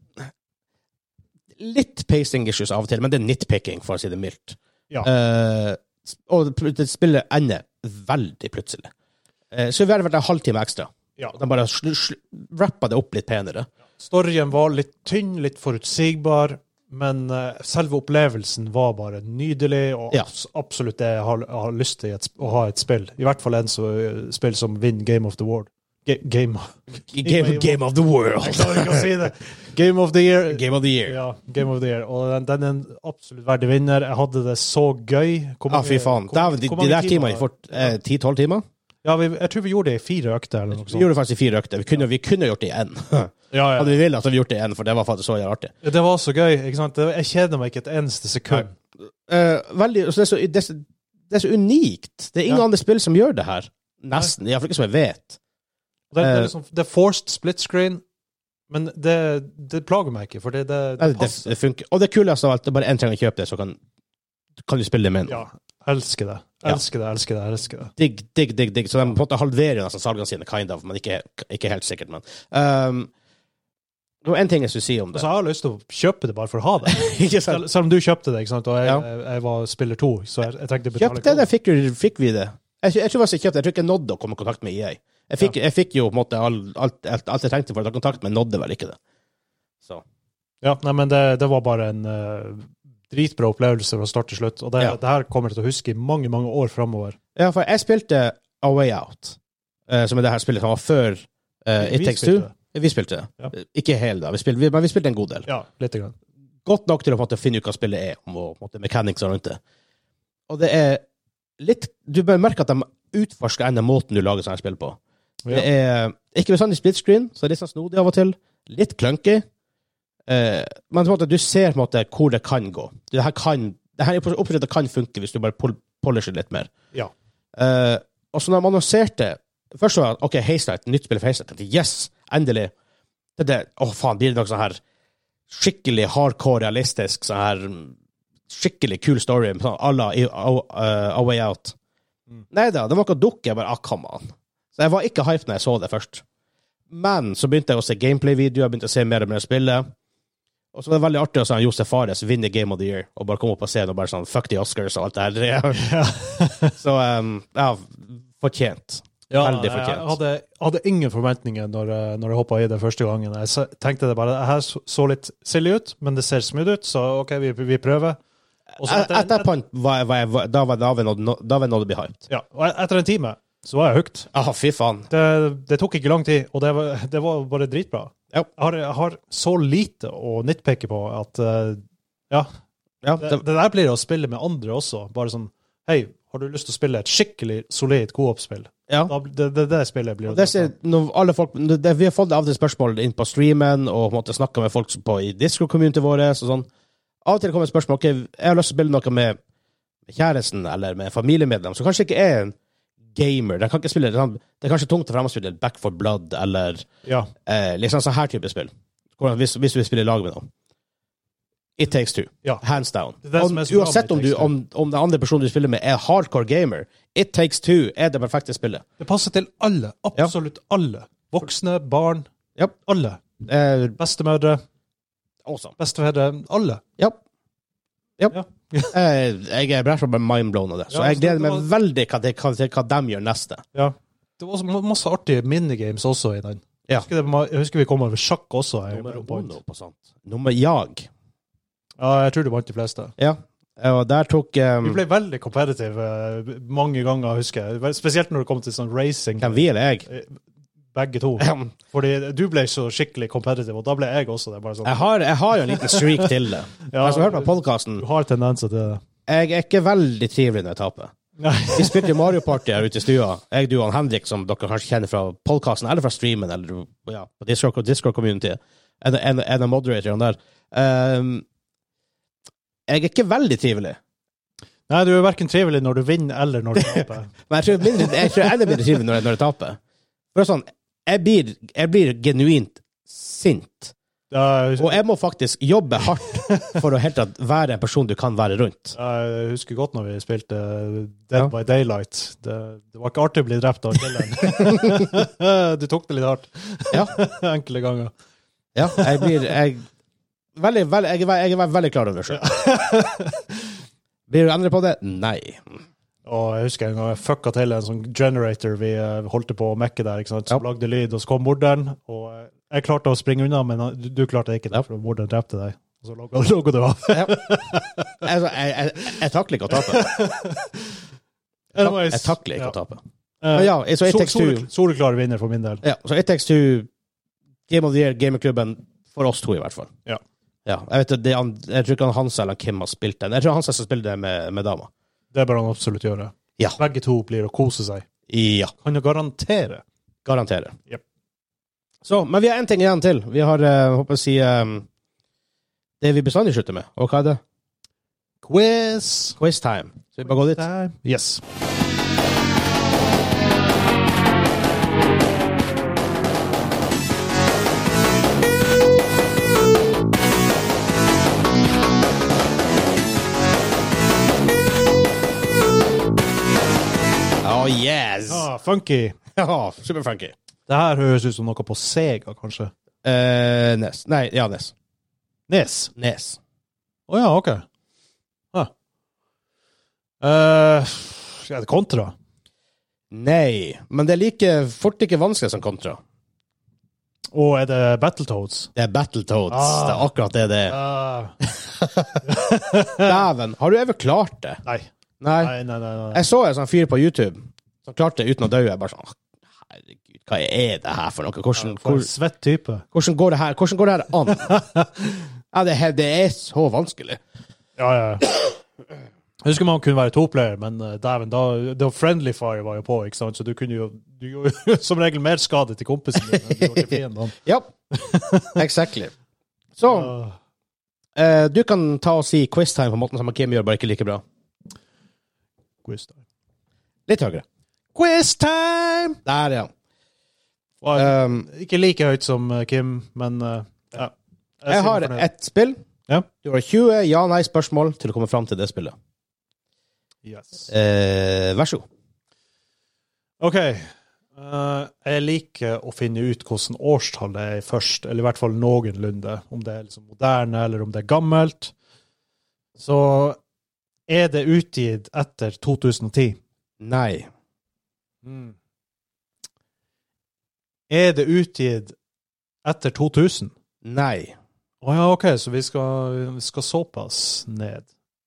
S1: Litt pacing issues av og til, men det er nitpicking, for å si det mildt.
S2: Ja.
S1: Eh, og det- det spillet ender veldig plutselig. Eh, så vi hadde vært en halvtime ekstra.
S2: Ja.
S1: De bare sl- sl- rappa det opp litt penere.
S2: Storyen var litt tynn, litt forutsigbar, men eh, selve opplevelsen var bare nydelig, og
S1: Ja.
S2: abs- absolutt det jeg har, jeg har lyst til i et, sp- å ha i et spill. I hvert fall en så, eh, spill som vinner Game of the World. Ga game.
S1: Game, game of the
S2: Jeg
S1: world.
S2: klarer ikke å si det! Game of the Year.
S1: Game of the year.
S2: Ja, Game of the Year. Og den, den er en absolutt verdig vinner. Jeg hadde det så gøy. Hvor
S1: Ja, Ah, fy
S2: mange-
S1: faen.
S2: hvor-
S1: Dæven, de,
S2: hvor
S1: de
S2: mange
S1: der timene får ti-tolv eh, timer.
S2: Ja, vi, jeg tror vi gjorde det i fire økter. eller noe
S1: Vi
S2: sånt.
S1: gjorde det faktisk i fire økter. Vi kunne, vi kunne gjort det i én.
S2: Ja, ja.
S1: Hadde vi villet, så hadde vi gjort det i én, for det var faktisk så jævlig artig.
S2: Det var så gøy. ikke sant? Det- Jeg kjeder meg ikke et eneste sekund.
S1: Eh, veldig, så det, er så, det, er så, det er så unikt. Det er ingen
S2: Ja.
S1: andre
S2: andre
S1: spill som gjør det her. Nesten. Iallfall ikke som jeg vet.
S2: Det, det,
S1: Eh.
S2: er liksom, det er forced split screen, Men det, det plager meg ikke, for det, det,
S1: Nei,
S2: det
S1: det,
S2: passer.
S1: det funker. Og det kuleste av alt, det er bare én trenger å kjøpe det, så kan, kan du spille det med en.
S2: Ja. Elsker det.
S1: Ja.
S2: Elsker det, elsker det, elsker det.
S1: Digg, digg, digg. digg. Så de på en måte halverer nesten salgene sine, kind of, men ikke, ikke helt sikkert. Men ehm, Det var én ting jeg skulle si om det.
S2: Altså, jeg har lyst til å kjøpe det bare for å ha det.
S1: Ikke sant?
S2: Selv, selv om du kjøpte det, ikke sant? og jeg,
S1: Ja.
S2: jeg, jeg var spiller to, så jeg, jeg trengte å betale
S1: Kjøpte det, fikk, du- fikk vi det. Jeg, tror- jeg tror faktisk jeg kjøpte det. Jeg tror ikke jeg nådde å komme i kontakt med EA. Jeg fikk, jeg fikk jo på en måte all, alt, alt, alt jeg trengte for å ta kontakt, men nådde vel ikke det. Så.
S2: Ja, nei, men det, det var bare en eh, dritbra opplevelse fra start til slutt, og det,
S1: Ja.
S2: det her kommer jeg til å huske i mange, mange år framover.
S1: Ja, for jeg spilte A Way Out, eh, som er det her spillet som var før eh, It Takes Two. Vi spilte det.
S2: Ja.
S1: Ikke hele, da. Vi spilte, vi, men vi spilte en god del.
S2: Ja, lite grann.
S1: godt nok til å på en måte, finne ut hva spillet er, om og, på en måte, mechanics rundt det. Og det er litt Du bør merke at de utforsker enda måten du lager sånne spill på. Det
S2: Ja.
S1: er ikke bestandig split screen, så det er litt sånn snodig av og til. Litt clunky. Eh, men på en måte, du ser på en måte hvor det kan gå. Det her kan det her er opprettet kan funke hvis du bare pol polisher litt mer.
S2: Ja.
S1: Eh, og så når de annonserte Først så var det OK, Haystack, nytt spill for Haystack. Tenkte, Yes, endelig. Det er det. Å, faen, blir det noe sånn her skikkelig hardcore realistisk, sånn her mm, skikkelig kul story sånn à la i- A eh, A- A Way Out?
S2: Mm.
S1: Nei da, det var ikke å dukke. Jeg bare ah, come on. Så jeg var ikke hyped når jeg så det først. Men så begynte jeg å se gameplay-videoer, begynte å se mer og mer spillet. Og så var det veldig artig å se han Josef Fares vinne Game of the Year, og bare komme opp på scenen og bare sånn fuck the Oscars og alt det her. så um, ja, fortjent.
S2: Ja,
S1: Veldig
S2: jeg- Jeg
S1: fortjent.
S2: hadde, hadde ingen forventninger når, jeg- når jeg hoppa i det første gangen. Jeg se- tenkte det bare det her så- så litt silly ut, men det ser smooth ut, så OK, vi, vi prøver. Og så
S1: Et-
S2: etter,
S1: Etter point E-, var jeg, var jeg, var- da var da var jeg nådd- da var jeg nådd å bli hyped.
S2: ja, og etter en time så var jeg hooked.
S1: Ah, fy faen.
S2: Det, det tok ikke lang tid, og det var, det var bare dritbra.
S1: Ja.
S2: Jeg, har, jeg har så lite å nitpeke på at eh, Ja,
S1: Ja,
S2: det,
S1: det,
S2: det der blir å spille med andre også. Bare sånn Hei, har du lyst til å spille et skikkelig solid co-op-spill?
S1: ja.
S2: Da- Det, det, det spillet blir sånn, å
S1: Og det ser, når alle folk, det, vi har fått av og til spørsmål inn på streamen, og på en måte snakka med folk som på, i Discord-community vår. og Sånn. Av og til kommer et spørsmål ok, jeg har lyst til å spille noe med kjæresten eller med familiemedlem, som kanskje ikke er en gamer. De kan ikke spille, det er kanskje tungt for dem å spille Back for Blood eller
S2: Ja.
S1: eh, liksom sånn her type spill. Hvordan- Hvis, hvis du vil spille i lag med noen. It takes two.
S2: Ja.
S1: Hands down.
S2: Det er det som er så bra
S1: Og,
S2: med
S1: uansett
S2: It
S1: om, du,
S2: Takes Two.
S1: om, om den andre personen du spiller med, er hardcore gamer, It takes two er det perfekte spillet.
S2: Det passer til alle. Absolutt alle. Voksne, barn.
S1: Ja.
S2: Alle.
S1: Eh,
S2: Bestemødre,
S1: awesome.
S2: bestefedre. Alle.
S1: Ja. Ja.
S2: Ja.
S1: Eh, jeg er bare så mindblown av det. Så
S2: Ja,
S1: jeg
S2: så
S1: gleder
S2: det
S1: meg
S2: var-
S1: veldig hva de, hva, til hva de gjør neste.
S2: Ja. Det var også ma- masse artige minigames også i den.
S1: Ja.
S2: Jeg husker, det, ma- jeg husker vi kom over sjakk også. Jeg,
S1: Nummer
S2: point.
S1: uno på sånt. Nummer jag.
S2: ja, jeg tror du vant de fleste.
S1: Ja. Eh, Og der tok eh,
S2: Vi ble veldig competitive eh, mange ganger, husker jeg. Vel, Spesielt når det kom til sånn racing.
S1: Hvem vi eller jeg?
S2: Begge to.
S1: Ahem.
S2: Fordi du ble så skikkelig competitive, og da ble jeg også det. Bare sånn,
S1: Jeg har, jeg har jo en liten streak til det.
S2: Ja,
S1: Jeg som har hørt på podkasten,
S2: du har tendenser til det.
S1: jeg er ikke veldig trivelig når jeg taper.
S2: Nei.
S1: Vi spilte jo Mario Party her ute i stua. Jeg, du og han Henrik, som dere kanskje kjenner fra podkasten eller fra streamen eller ja, på Discord- Discord-community. en, en, en av moderatorene der. Ehm, jeg er ikke veldig trivelig.
S2: Nei, du er verken trivelig når du vinner eller når du taper.
S1: Men jeg tror, mindre, jeg tror jeg er enda mindre trivelig når jeg, når jeg taper. For det er sånn, jeg blir, jeg blir genuint sint.
S2: Jeg,
S1: Og jeg må faktisk jobbe hardt for å helt tatt være en person du kan være rundt.
S2: jeg husker godt når vi spilte eh, Dead
S1: Ja.
S2: by Daylight. Det, det var ikke artig å bli drept av killeren. du tok det litt hardt.
S1: Ja.
S2: Enkelte ganger.
S1: Ja, jeg blir jeg, veldig, veldig, jeg, er ve- jeg er ve- veldig klar over det selv. Blir du endret på det? Nei.
S2: Og jeg husker en gang jeg fucka til en sånn generator vi eh, holdt på å mekke der, ikke sant? som
S1: Ja.
S2: lagde lyd, og så kom morderen. Og eh, jeg klarte å springe unna, men han- du, du klarte ikke det,
S1: Ja.
S2: for morderen drepte deg. Og så logga- logga du av.
S1: Altså, jeg, jeg, jeg takler ikke å tape. Jeg, tak- jeg takler ikke å tape. Men ja, så It Takes Two
S2: Eh, Soleklar vinner for min del.
S1: ja, Så It Takes Two, Game of the Year, gamingklubben, for oss to i hvert fall.
S2: Ja.
S1: Ja, jeg, vet, at det, an- jeg tror ikke han Hansa eller Kim har spilt den. Jeg tror Hansa skal spille det med, med dama.
S2: Det bør han absolutt gjøre.
S1: Ja.
S2: Begge to blir å kose seg.
S1: Ja,
S2: Kan jo garantere.
S1: garanterer.
S2: Jep.
S1: Så, men vi har én ting igjen til. Vi har, eh, håper jeg å si, eh, det vi bestandig slutter med. Og hva er det?
S2: Quiz!
S1: Quiz time. Skal vi bare gå dit?
S2: Yes.
S1: Yes!
S2: Ah, funky.
S1: Ja, Superfunky.
S2: Det her høres ut som noe på Sega, kanskje.
S1: Eh, Nes. Nei, ja, Nes.
S2: Nes.
S1: Nes.
S2: Å ja, OK. Ah. Eh, ja, det er kontra.
S1: Nei. Men det er like fort ikke vanskelig som Contra.
S2: Og er det Battletoads?
S1: Det er Battletoads.
S2: Ah.
S1: Det er akkurat det det er.
S2: Eh,
S1: Dæven. Har du ever klart det?
S2: nei.
S1: Nei.
S2: Nei, nei, nei. nei.
S1: Jeg så en sånn fyr på YouTube som klarte det uten å dø. Jeg bare sånn «Åh, Herregud, hva er det her for noe? Hvordan,
S2: For
S1: hvor,
S2: en svett type.
S1: hvordan går det her Hvordan går det her an? Ja, det, her- det er så vanskelig.
S2: Ja, ja. Jeg husker man kunne være toplayer, men eh, dæven, da, da friendly fire var jo på, ikke sant? så du kunne jo du gjorde jo som regel mer skade til kompisen din enn du gjorde til fienden.
S1: Ja, exactly. Så
S2: Uh,
S1: eh, du kan ta og si quiztime på måten som Kim gjør, bare ikke like bra.
S2: quiz time.
S1: Litt høyere.
S2: Quiz time!
S1: Der, ja.
S2: Var
S1: Um,
S2: ikke like høyt som eh, Kim, men eh, ja.
S1: jeg
S2: sier
S1: har
S2: meg fornøyd.
S1: ett spill.
S2: Ja.
S1: Du har 20 ja-nei-spørsmål til å komme fram til det spillet.
S2: yes.
S1: Eh, vær så god.
S2: OK. Eh, jeg liker å finne ut hvordan årstallet er først, eller i hvert fall noenlunde. Om det er liksom moderne, eller om det er gammelt. Så er det utgitt etter 2010?
S1: Nei.
S2: Mm. Er det utgitt etter 2000?
S1: Nei.
S2: Å ja, OK, så vi skal, vi skal såpass ned.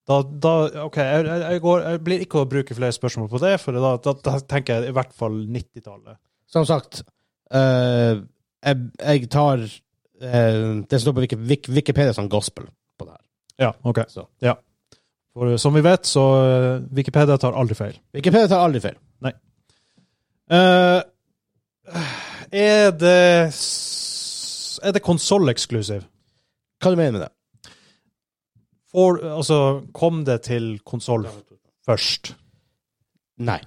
S2: Da, da OK, jeg, jeg, jeg, går, jeg blir ikke å bruke flere spørsmål på det, for da, da, da tenker jeg i hvert fall 90-tallet.
S1: Som sagt, eh, jeg, jeg tar eh, det som står på Wiki- Wik- Wikipedia som gospel på det her.
S2: Ja, OK.
S1: Så.
S2: Ja. For som vi vet, så eh, Wikipedia tar aldri feil.
S1: Wikipedia tar aldri feil.
S2: Eh, er det s- Er det konsolleksklusiv?
S1: Hva du mener med det?
S2: For- Altså, kom det til konsoll først?
S1: Nei.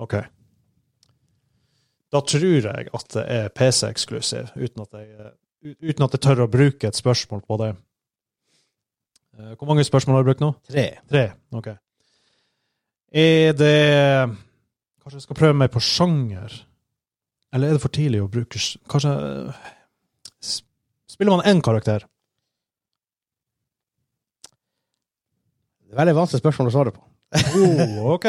S2: Ok. Da tror jeg at det er PC-eksklusiv, uten, at jeg- u- uten at jeg tør å bruke et spørsmål på det. Eh, Hvor mange spørsmål har du brukt nå?
S1: Tre.
S2: Tre. Ok. Er det Kanskje jeg skal prøve meg på sjanger? Eller er det for tidlig å bruke sj- Kanskje eh, s- Spiller man én karakter?
S1: Det er veldig vanskelig spørsmål å svare på.
S2: Oh, OK.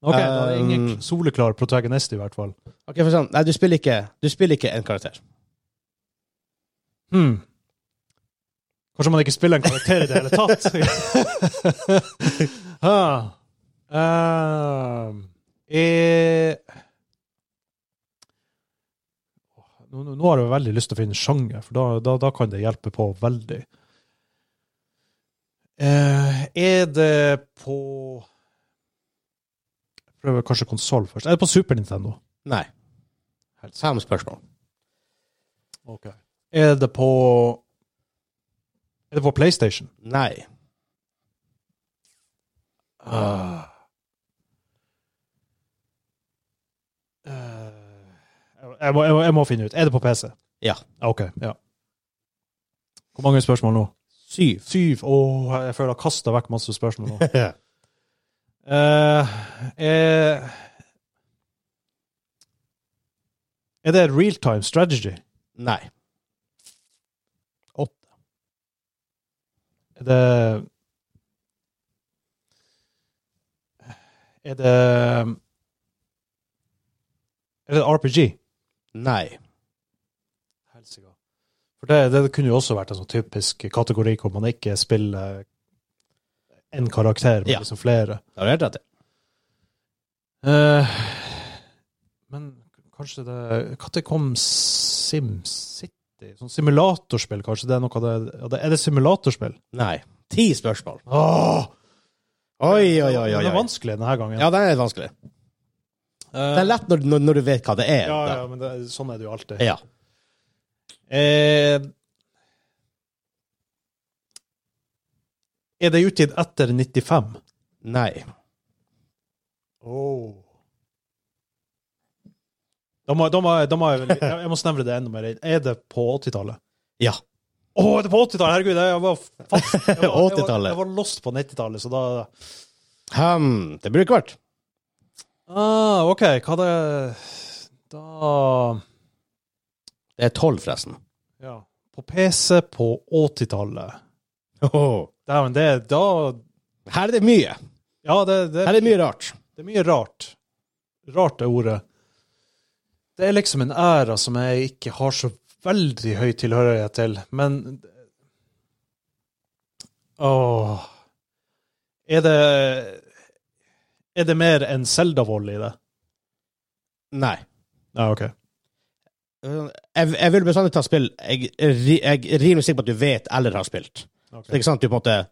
S2: Ok, Da er det
S1: Um,
S2: ingen soleklar protagonist, i hvert fall.
S1: Ok, for sånn, Nei, du spiller ikke Du spiller ikke en karakter.
S2: Hmm. Kanskje man ikke spiller en karakter i det hele tatt? ah. Ehm, eh. nå, nå nå har jeg veldig lyst til å finne sjanger, for da, da, da kan det hjelpe på veldig. Eh, er det på Prøver kanskje konsoll først. Er det på Super Nintendo?
S1: Nei. Fem spørsmål.
S2: Er det på Er det på PlayStation?
S1: Nei.
S2: Ah. Eh, jeg, må, jeg, må, jeg må finne ut. Er det på PC?
S1: Ja.
S2: OK. ja. Hvor mange spørsmål nå?
S1: Syv.
S2: Syv. Åh, jeg føler jeg har kasta vekk masse spørsmål nå.
S1: Nei.
S2: Eh, er, er det real time strategy?
S1: Åtte.
S2: Er det Er det Er det RPG?
S1: Nei.
S2: Helsika. For det, det kunne jo også vært en sånn typisk kategori hvor man ikke spiller en karakter, men
S1: Ja.
S2: liksom flere.
S1: Da har du helt rett. i.
S2: Eh, men kanskje det Når kom SimCity? Sånn simulatorspill, kanskje? det Er noe av det, ja, det- er det simulatorspill?
S1: Nei. Ti spørsmål.
S2: Åh!
S1: Oi, oi, oi. oi,
S2: Den er
S1: oi.
S2: vanskelig denne gangen.
S1: Ja, den er litt vanskelig.
S2: Eh,
S1: Den er lett når, når, når du vet hva det er.
S2: Ja,
S1: da.
S2: ja, men det, sånn er det jo alltid.
S1: ja.
S2: Eh, er det utgitt etter 95?
S1: Nei.
S2: Oh. Da må, da må, jeg- da må jeg, vel- jeg, jeg må snevre det enda mer inn. Er det på 80-tallet?
S1: Ja.
S2: Å, er det på 80-tallet? Herregud, jeg var fast. Jeg var, jeg var,
S1: 80-tallet.
S2: jeg var lost på 90-tallet, så da
S1: Hm, det burde ikke vært.
S2: Ah, OK, hva det Da
S1: Det er tolv, forresten.
S2: Ja. På PC på 80-tallet. Dæven, det er da
S1: Her er det mye.
S2: Ja, det, det,
S1: Her er det mye rart.
S2: Det er mye rart. Rart er ordet. Det er liksom en æra som jeg ikke har så veldig høy tilhørighet til, men Åh Er det Er det mer enn Selda-vold i det?
S1: Nei.
S2: Ja, OK.
S1: Jeg, jeg vil bestandig ta spill jeg, ri- jeg er rimelig sikker på at du vet eller har spilt. Så det er ikke sant, Du på en måte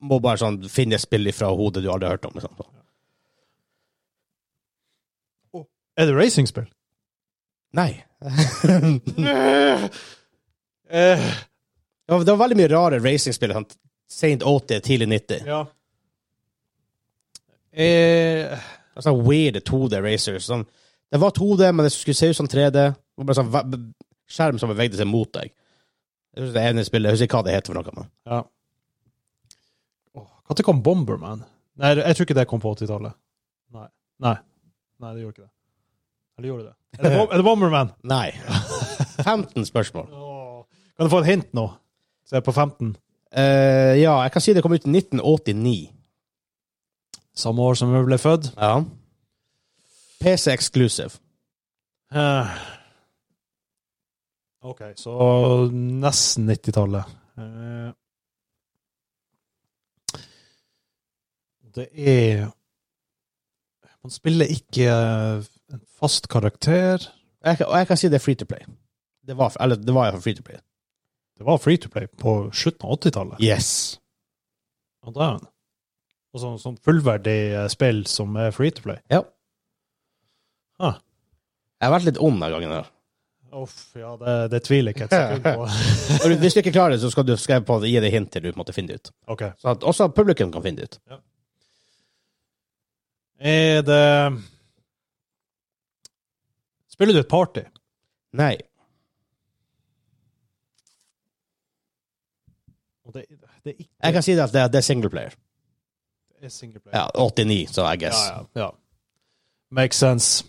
S1: må bare sånn finne spill fra hodet du aldri har hørt om. Liksom.
S2: Er det racingspill?
S1: Nei. det,
S2: Eh,
S1: var, det var veldig mye rare racingspill. Sånn. Sent 80, tidlig 90.
S2: ja. Eh,
S1: Sånn weird 2D racers. Sånn. Det var 2D, men det skulle se ut som 3D. Det var bare sånn ve- skjerm som bevegde seg mot deg. Jeg husker det ene spillet, jeg husker ikke hva det heter. for noe, men.
S2: ja. Åh, Når kom Bomberman? Nei, jeg tror ikke det kom på 80-tallet. Nei. Nei. Nei, det gjorde ikke det. Eller gjorde det det? Er det, Bom- er det Bomberman?
S1: Nei. 15 spørsmål.
S2: Kan du få et hint nå? Så jeg er på 15.
S1: Eh, ja, jeg kan si det kom ut i 1989.
S2: Samme år som jeg ble født.
S1: Ja. PC exclusive.
S2: Eh, OK, så nesten 90-tallet. Eh, det er Man spiller ikke eh, en fast karakter.
S1: Og jeg, kan- og jeg kan si det er free to play. Det var, eller, det var i hvert fall free to play.
S2: Det var free to play på slutten av 80-tallet.
S1: Yes.
S2: Ja, det er den. Og sånn sånn fullverdig eh, spill som er free to play.
S1: Ja.
S2: Ah.
S1: Jeg har vært litt ond denne gangen. her.
S2: Uff, ja, det, det tviler jeg ikke et sekund på.
S1: Og hvis du ikke klarer det, så skal du skal jeg på, gi deg hint til du på en måte finner det ut.
S2: OK.
S1: Sånn at også publikum kan finne det ut.
S2: Er det Spiller du et party?
S1: Nei.
S2: Og det, det er ikke
S1: Jeg kan si det at det, det er single player.
S2: det er single player.
S1: Ja, 89, så I guess.
S2: ja, ja, ja. Makes sense.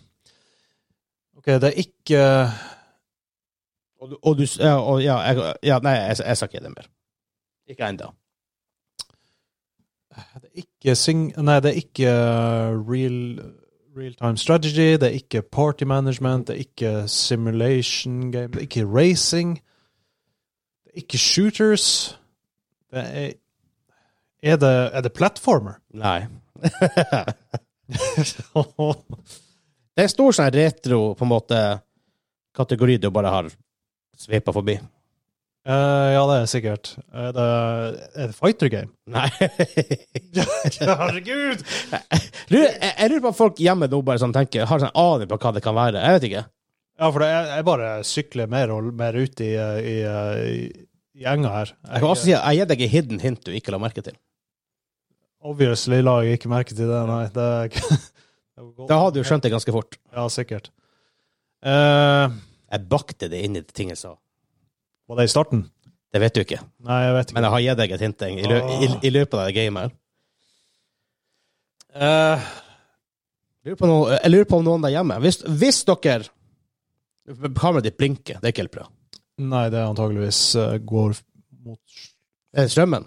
S2: OK, det er ikke
S1: Og, du- og du s- ja, og, ja, jeg, ja, Nei, jeg, jeg sa ikke det mer. Ikke ennå.
S2: Det er ikke sing... Nei, det er ikke uh, real Real-time strategy, det er ikke party management, det er ikke simulation game, det er ikke racing, det er ikke shooters Det er Er det, er det platformer?
S1: Nei.
S2: ja,
S1: Det er en stor sånn retro på en måte kategori du bare har svepa forbi.
S2: Eh, det er sikkert. Er det, er det fighter game?
S1: Nei.
S2: Herregud!
S1: Du, jeg, jeg lurer på om folk hjemme nå bare sånn tenker, har sånn aning på hva det kan være. Jeg vet ikke.
S2: Ja, for det, jeg, jeg bare sykler mer og mer ut i, eh, i, i, i enga her.
S1: Jeg kan også si at jeg gir deg et hidden hint du ikke la merke til.
S2: Obviously la jeg ikke merke til det, nei. Det, det var godt.
S1: Da hadde du skjønt det ganske fort.
S2: Ja, sikkert. Eh,
S1: Jeg bakte det inn i ting jeg sa.
S2: var det i starten?
S1: Det vet du ikke.
S2: Nei, jeg vet ikke.
S1: Men jeg har gitt deg et hint i, lø i, i løpet av det gamet. her.
S2: Eh,
S1: Jeg lurer på noe- Jeg lurer på om noen der hjemme Hvis, hvis dere Kameraet ditt blinker. Det er ikke helt bra.
S2: nei, det er antageligvis eh, går mot
S1: Er det Eh, strømmen?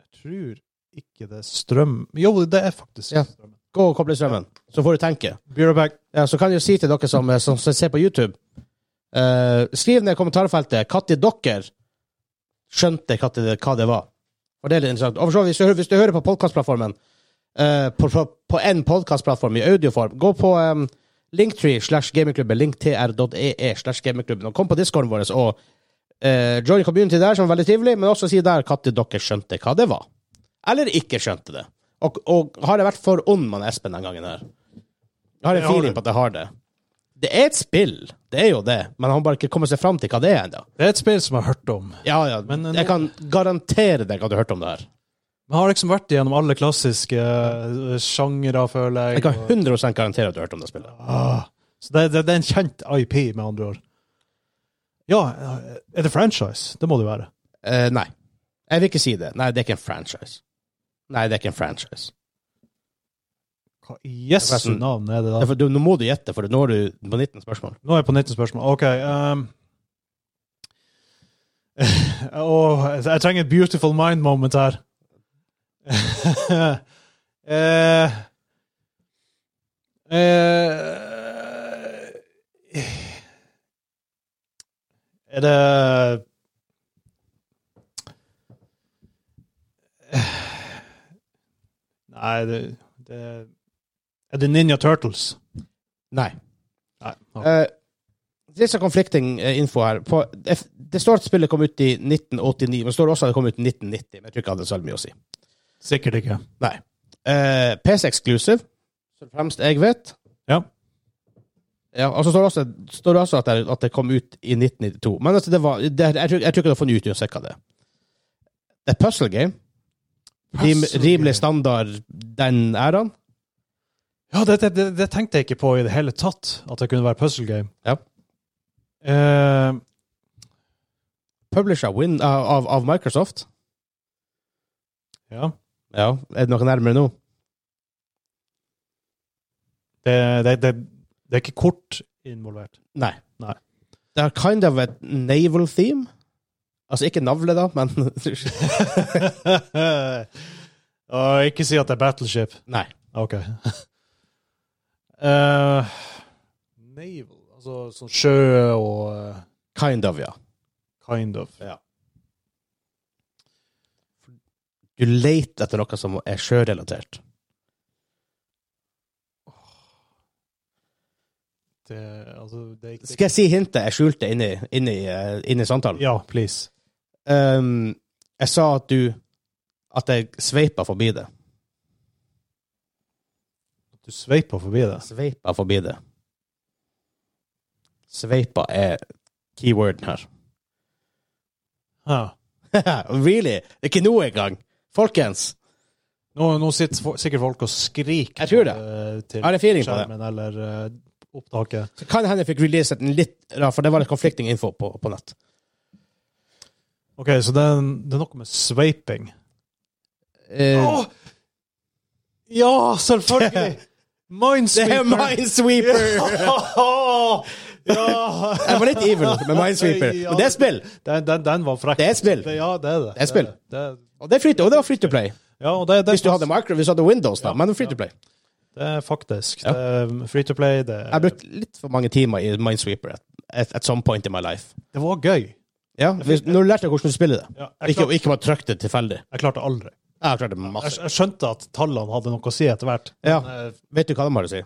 S2: Jeg tror ikke det er strøm. Jo, det er faktisk
S1: Ja.
S2: strøm.
S1: Gå og koble strømmen, så får du tenke.
S2: Be right back.
S1: Ja, så kan jeg jo si til dere som, som ser på YouTube eh, Skriv ned i kommentarfeltet når dere skjønte hva det, hva det var. Og det er litt interessant. Og for så vidt, hvis, du, hører- hvis du hører på podkastplattformen, på, på, på en podkastplattform i audioform, gå på um, linktree slash gamingklubben, linktr.ee slash gamingklubben, og kom på discorden vår og eh, join community der, som er veldig trivelig, men også si der når dere skjønte hva det var. Eller ikke skjønte det. Og, og har jeg vært for ond med Espen den gangen her? Jeg har
S2: Det
S1: en
S2: har
S1: feeling
S2: du.
S1: på at jeg har det. Det er et spill, det er jo det, men han har bare ikke kommet seg fram til hva det er ennå.
S2: Det er et spill som jeg har hørt om.
S1: Ja, ja,
S2: Men, eh, nå-
S1: jeg kan garantere deg at du har hørt om det her.
S2: Men har liksom vært igjennom alle klassiske eh, sjangere, føler jeg.
S1: Jeg kan
S2: og-
S1: 100 garantere at du har hørt om det spillet.
S2: Ah, så det, det, det er en kjent IP, med andre ord. Ja, eh, er det franchise? Det må det være.
S1: Eh, nei. Jeg vil ikke si det. Nei, det er ikke en franchise. Nei, det er ikke en franchise.
S2: Hva i Jesu
S1: Forresten.
S2: navn er det
S1: Ja,
S2: da?
S1: for du, nå må du gjette, for nå er du på 19 spørsmål.
S2: Nå er jeg på 19 spørsmål. OK. ehm. Åh, jeg trenger et beautiful mind moment her. eh, eh, er det Nei, det, det Er det Ninja Turtles?
S1: Nei.
S2: Nei. ok.
S1: Eh, litt sånn konflikting-info her. På, det, det står at spillet kom ut i 1989, men det står også at det kom ut i 1990. Men jeg tror ikke det hadde så mye å si.
S2: Sikkert ikke.
S1: Nei. Eh, PC Exclusive, så fremst jeg vet.
S2: Ja.
S1: Ja, og så står det også, står det også at, det, at det kom ut i 1992. Men altså, det var, det, jeg, tror, jeg tror ikke det har funnet ut uansett hva det er. Det er puzzle game. Rim,
S2: Puzzle game.
S1: rimelig standard den æraen.
S2: Ja, det, det, det, det tenkte jeg ikke på i det hele tatt, at det kunne være puzzle game.
S1: Ja.
S2: Eh,
S1: Publisher win av, av, av Microsoft.
S2: ja.
S1: Ja, er det noe nærmere nå?
S2: Det, det, det, det er ikke kort involvert.
S1: Nei.
S2: Nei.
S1: Det har kind of et naval theme. Altså ikke navle, da, men
S2: Og ikke si at det er battleship.
S1: Nei.
S2: Ok. Eh, naval, altså sånn sjø og eh,
S1: Kind of, ja.
S2: kind of.
S1: Ja. Du leter etter noe som er sjørelatert.
S2: Det, altså, det, er ikke-
S1: Skal jeg si hintet jeg skjulte inni, inni, eh, inni samtalen?
S2: Ja, please.
S1: Ehm, jeg sa at du At jeg sveipa forbi det.
S2: Du sveiper forbi det.
S1: Sveipa forbi det. Sveipa er keyworden her.
S2: Ja.
S1: really? Det er ikke nå engang! Folkens,
S2: Nå, nå sitter fo- sikkert folk og skriker
S1: Jeg tror det.
S2: eh, til
S1: jeg har en feeling på det.
S2: skjermen eller eh, opptaket.
S1: Så kan hende jeg fikk releaset den litt rar, for det var litt conflicting info på, på nett.
S2: OK, så det er, det er noe med sveiping.
S1: Eh,
S2: Åh! Ja, selvfølgelig!
S1: det er
S2: Minesweeper!
S1: Minesweeper!
S2: ja!
S1: Jeg var litt evil med Minesweeper. Men det er spill!
S2: Den, den, den var frekk.
S1: Det er spill.
S2: Det- Ja, det er det.
S1: er spill.
S2: Det, er-
S1: Og det, er free to, og det var free to play.
S2: ja, og det, det,
S1: Hvis du hadde micro, hvis du hadde Windows, da. Men free to play.
S2: det er faktisk
S1: Ja.
S2: det er Free to play. Det,
S1: Jeg brukte litt for mange timer i Minesweeper at, at, at some point in my life.
S2: det var gøy.
S1: Ja, hvis, Når du lærte hvordan du spiller det.
S2: Ja, jeg,
S1: Ikke,
S2: klarte,
S1: ikke bare trykk det tilfeldig.
S2: jeg klarte aldri.
S1: Jeg har klart det
S2: Jeg,
S1: masse.
S2: jeg skjønte at tallene hadde noe å si etter hvert.
S1: Ja,
S2: Men, eh,
S1: Vet du hva de har å si?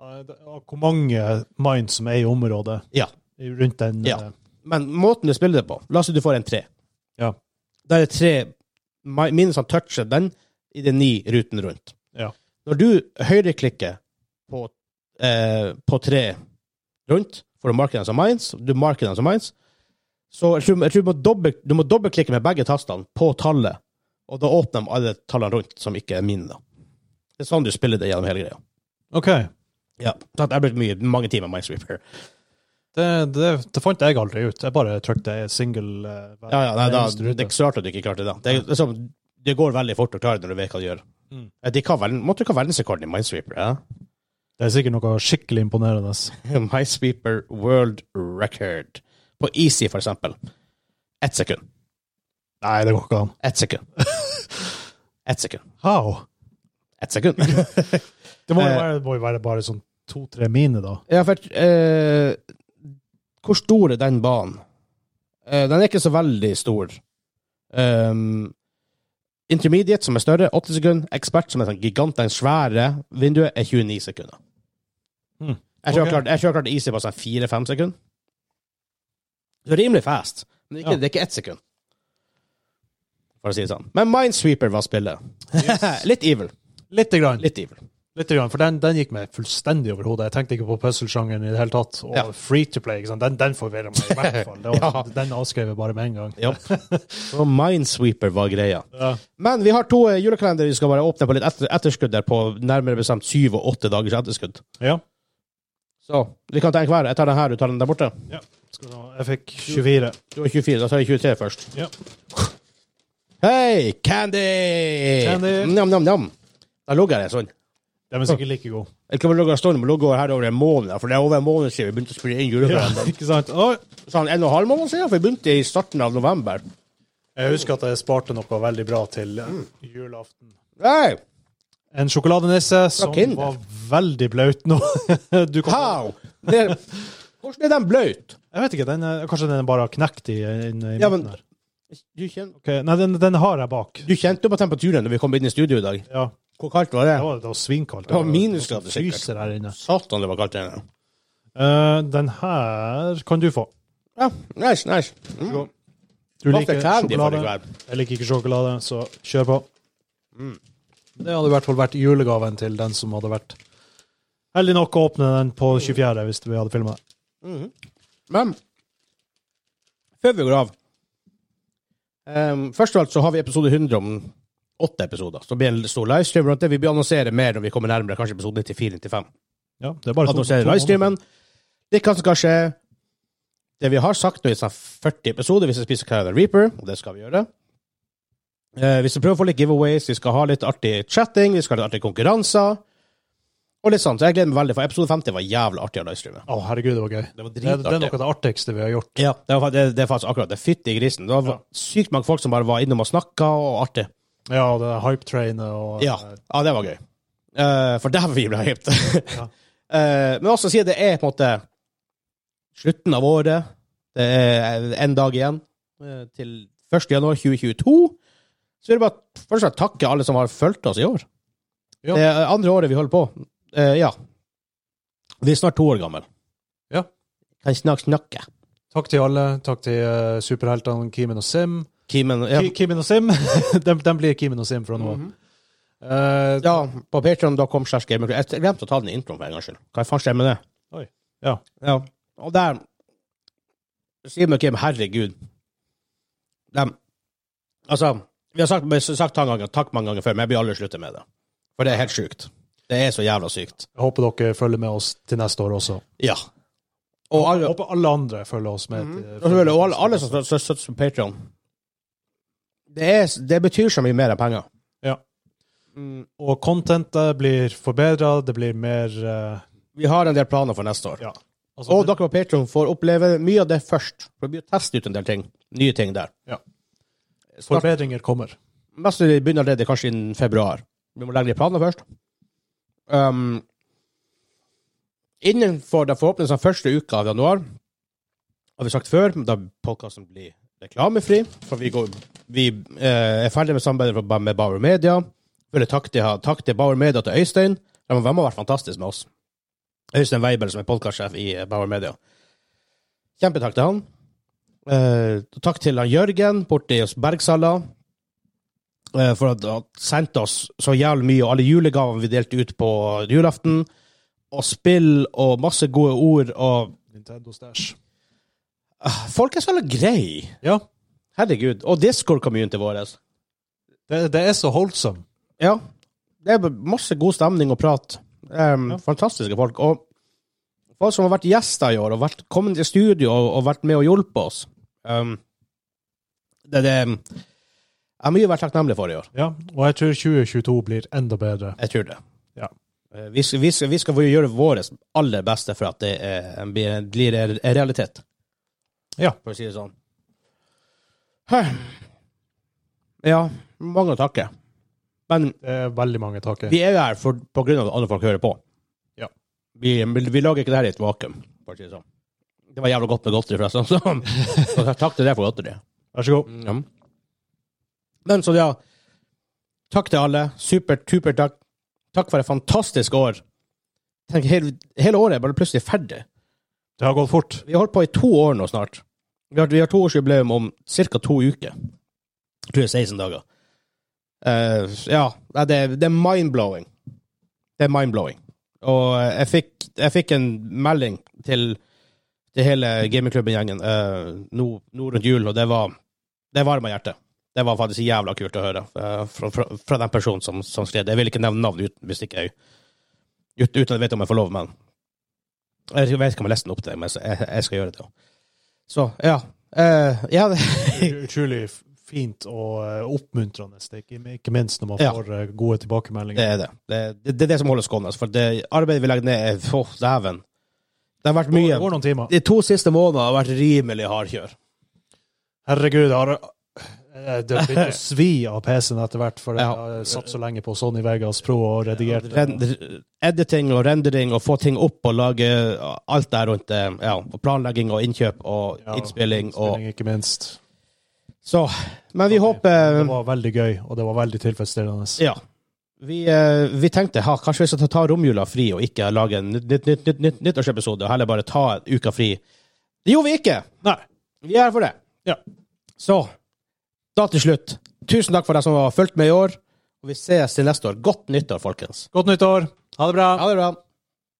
S2: Ja, det- og Hvor mange mines som er i området
S1: Ja.
S2: rundt den
S1: Ja.
S2: eh,
S1: Men måten du spiller det på La oss si du får en tre.
S2: Ja.
S1: Da er det tre mi- minusene toucher den i de ni ruten rundt.
S2: Ja.
S1: Når du høyreklikker på, eh, på tre rundt for å marke den som mines, du marker den som mines, så jeg tror, jeg tror du, må dobbelt, du må dobbeltklikke med begge tastene på tallet, og da åpner de alle tallene rundt som ikke er mine. da. Det er sånn du spiller det gjennom hele greia.
S2: OK.
S1: Ja, så at jeg har brukt mye, mange timer med Minesweeper.
S2: Det, det, det fant jeg aldri ut. Jeg bare trykte single eh, hver
S1: Ja, ja, nei, da,
S2: eneste rute.
S1: det er så rart at du ikke klarte det. da. Det, er liksom, det går veldig fort å klare det når du vet hva du gjør.
S2: Mm.
S1: Eh, De kan vel, måtte ikke ha verdensrekorden i Minesweeper. Ja?
S2: Det er sikkert noe skikkelig imponerende.
S1: Minesweeper World Record. På Easy, for eksempel. Ett sekund.
S2: Nei, det går ikke an.
S1: Ett sekund. Ett sekund.
S2: How?
S1: Ett sekund.
S2: Det må jo
S1: Eh.
S2: være, det må jo være bare sånn to-tre mine, da.
S1: ja, for eh, Hvor stor er den banen? Eh, den er ikke så veldig stor. Um, intermediate, som er større, 80 sekunder. Ekspert, som er sånn gigant, den svære vinduet, er 29 sekunder.
S2: Mm.
S1: Jeg tror jeg
S2: Ok.
S1: har klart- jeg tror jeg har klart Easy på sånn 4-5 sekunder. Så rimelig fast. Men det er ikke,
S2: Ja.
S1: det er ikke ett sekund. For å si det sånn. Men Minesweeper var spillet. Litt evil.
S2: Lite grann.
S1: Litt evil.
S2: Lite grann, for den, den gikk meg fullstendig over hodet. Jeg tenkte ikke på puzzle-sjangeren i det hele tatt. Og
S1: Ja.
S2: free to play, ikke sant? Den, den forvirrer meg i hvert fall. Det var,
S1: Ja.
S2: Den avskrev jeg bare med en gang.
S1: Ja. Så Minesweeper var greia.
S2: Ja.
S1: Men vi har to eh, julekalendere vi skal bare åpne på litt etter, etterskudd der på nærmere bestemt syv og åtte dagers etterskudd.
S2: ja.
S1: Så vi kan ta en hver. Jeg tar den her, du tar den der borte.
S2: Skal vi se. Jeg fikk 24.
S1: Du har 24, da tar jeg 23 først.
S2: Ja.
S1: Hei, candy!
S2: Candy.
S1: Nam, nam, nam. Da lå jeg der sånn.
S2: De er sikkert like gode.
S1: Jeg kan vel logge av Storm og logge her over en måned, for det er over en måned siden vi begynte å spille inn julekalenderen.
S2: ikke sant? Å,
S1: Sånn en og en halv måned siden, for vi begynte i starten av november.
S2: jeg husker at jeg sparte noe veldig bra til eh, julaften.
S1: Nei!
S2: En sjokoladenisse som
S1: Kinder.
S2: var veldig blaut nå. Du kom,
S1: How? Det, hvordan er den bløt?
S2: jeg vet ikke, den er, kanskje den er bare knekt i, inn i
S1: Ja, men-
S2: midten her.
S1: Du, kjen,
S2: Ok, nei, den, den har jeg bak.
S1: du kjente jo på temperaturen da vi kom inn i studio i dag.
S2: Ja,
S1: Hvor kaldt var det?
S2: det var, det var svinkaldt.
S1: Det var minusgrader, sikkert.
S2: Fyser her inne.
S1: Satan, det var kaldt inne.
S2: Eh, den her kan du få.
S1: Ja, nice, nice. Mm.
S2: Du
S1: Bakte
S2: liker
S1: candy for i
S2: sjokolade.
S1: kveld. Mm.
S2: Jeg liker ikke sjokolade, så kjør på. Det hadde i hvert fall vært julegaven til den som hadde vært heldig nok å åpne den på
S1: Mm.
S2: 24. hvis vi hadde filma det.
S1: Men før vi går av ehm, Først av alt så har vi episode 100 om åtte episoder. Så det blir en stor livestream rundt det. Vi blir annonsere mer når vi kommer nærmere kanskje episode 94-95.
S2: Ja, det er bare to-
S1: Annonsere
S2: to
S1: livestreamen. Det kan kanskje Det vi har sagt nå i sånn 40 episoder, hvis vi spiser Carolina Reaper, og det skal vi gjøre Eh, Vi skal prøve å få litt giveaways, vi skal ha litt artig chatting, vi skal ha litt artige konkurranser. Og litt sånn, så Jeg gleder meg veldig, for episode 50 var jævlig artig å livestreame.
S2: Å, herregud, det var gøy.
S1: Det var
S2: Det, det er
S1: dritartig.
S2: noe av det artigste vi har gjort.
S1: Ja, det, var, det, det er faktisk akkurat det. Fytti grisen. Det var
S2: Ja.
S1: sykt mange folk som bare var innom og snakka, og artig.
S2: Ja, det er hype-trainet og
S1: Ja, ja det var gøy. Eh, for der vi ble hyped.
S2: Ja.
S1: Eh, men også siden det er på en måte slutten av året, det er en dag igjen eh, til 1. januar 2022, så er det bare først og fremst takke alle som har fulgt oss i år.
S2: Ja.
S1: Det er andre året vi holder på. Eh, ja. Vi er snart to år gamle.
S2: Ja.
S1: Kan snakk snakke.
S2: Takk til alle. Takk til eh, superheltene Kimen og Sim.
S1: Kimen, ja. Mhm.
S2: Ki Kimen og Sim. de, de blir Kimen og Sim fra nå av. Eh,
S1: Ja, på patreon.com slash gamingcrew. Jeg glemte å ta den i introen for en gangs skyld. Hva faen skjer med det?
S2: Oi. Ja.
S1: Og der sier meg Kim, herregud. Dem, altså, vi har sagt, vi har sagt mange ganger, takk mange ganger før, men jeg blir aldri slutte med det. For det er helt sjukt. Det er så jævla sykt.
S2: Jeg håper dere følger med oss til neste år også.
S1: Ja. Og
S2: Jeg
S1: alle,
S2: håper alle andre følger oss med. til-
S1: og selvfølgelig, og alle, alle som stø- stø- støtter på Patreon. Det, er, det betyr så mye mer enn penger.
S2: Ja.
S1: Mm,
S2: Og contentet blir forbedra, det blir mer eh,
S1: Vi har en del planer for neste år.
S2: Ja. altså,
S1: Og dere
S2: det,
S1: på Patreon får oppleve mye av det først. For det blir å teste ut en del ting. Nye ting der.
S2: Ja.
S1: Snart,
S2: forbedringer kommer.
S1: mest sannsynlig begynner det kanskje innen februar. Vi må legge ned planer først. Um, innenfor den forhåpentligvis den første uka av januar, har vi sagt før, men da podkasten blir reklamefri, for vi, går, vi eh, er ferdig med samarbeidet fra- med Bauer Media. Vil jeg takke til, takk til Bauer Media til Øystein. De har vært fantastiske med oss. Øystein Weibel, som er podkastsjef i eh, Bauer Media. Kjempetakk til han. Eh, takk til han Jørgen borte i Bergsala, eh, for at han sendte oss så jævlig mye, og alle julegavene vi delte ut på julaften, og spill og masse gode ord, og
S2: Nintendo Stash.
S1: Ah, folk er så jævla greie.
S2: Ja,
S1: Herregud. Og Discord-community vår.
S2: det, det er så holdsom.
S1: Ja. Det er masse god stemning og prat. Ehm,
S2: Ja.
S1: Fantastiske folk. Og folk som har vært gjester i år, og vært, kommet til studio og, og vært med og hjulpet oss. Ehm, det, det Jeg har mye å være takknemlig for i år.
S2: Ja, og jeg tror 2022 blir enda bedre.
S1: Jeg tror det.
S2: Ja.
S1: Eh, Vi, skal- vi, skal- vi skal gjøre vårt aller beste for at det eh, blir blir en realitet.
S2: Ja.
S1: For å si det sånn. Hæ. Ja, mange takker. Men
S2: Det er veldig mange takker.
S1: vi er jo her for, på grunn av at andre folk hører på.
S2: Ja.
S1: Vi, vi, vi lager ikke det her i et vakuum, for å si det sånn. Det var jævla godt med godteri, forresten. Så, så takk til deg for godteri.
S2: Vær så god.
S1: Ja. Men så ja, takk til alle. Supert, supert takk. Takk for et fantastisk år. Tenk, hele, hele året er bare plutselig ferdig.
S2: Det har gått fort.
S1: Vi har holdt på i to år nå snart. Vi har, vi har toårsjubileum om ca. to uker. Jeg tror det er 16 dager. Eh, ja, nei, det, er- det er mind-blowing. Det er mind-blowing. Og eh, jeg fikk, jeg fikk en melding til, til hele gamingklubben-gjengen eh, nå nå rundt jul, og det var det varma hjertet. Det var faktisk jævla kult å høre eh, fra, fra, fra den personen som, som skrev det. Jeg vil ikke nevne navn uten, hvis ikke jeg ut, Uten at jeg vet om jeg får lov, men Jeg vet ikke om jeg leste den opp til deg, men jeg, jeg skal gjøre det. også. Så, ja. Eh, ja, det,
S2: Utrolig f- fint og eh, oppmuntrende, det er ikke- ikke minst når man
S1: Ja.
S2: får eh, gode
S1: Det
S2: tilbakemeldinger.
S1: er det. Det, det, det er det som holder skånes. For det arbeidet vi legger ned, er Å, dæven. Det har vært
S2: Det
S1: mye.
S2: går noen timer.
S1: De to siste månedene har vært rimelig hardkjør.
S2: Herregud, jeg har eh, det har begynt å svi av PC-en etter hvert, for jeg
S1: Ja.
S2: har satt så lenge på Sony Vegas Pro og redigert.
S1: Rend- Editing og rendering og få ting opp og lage alt der rundt det. Ja, og planlegging og innkjøp og
S2: Ja,
S1: innspilling og
S2: innspilling, Ikke minst.
S1: Så. Men vi håper
S2: Det var veldig gøy, og det var veldig tilfredsstillende.
S1: Ja. Vi, eh, vi tenkte ha, kanskje vi skal ta- ta romjula fri og ikke lage en nytt, nytt, nytt, nytt, nytt, nyttårsepisode, og heller bare ta en uka fri. Det gjorde vi ikke!
S2: Nei.
S1: Vi er her for det.
S2: Ja.
S1: Så da til slutt, tusen takk for deg som har fulgt med i år, og vi ses til neste år. Godt nyttår, folkens.
S2: Godt nyttår! Ha det bra!
S1: Ha det bra.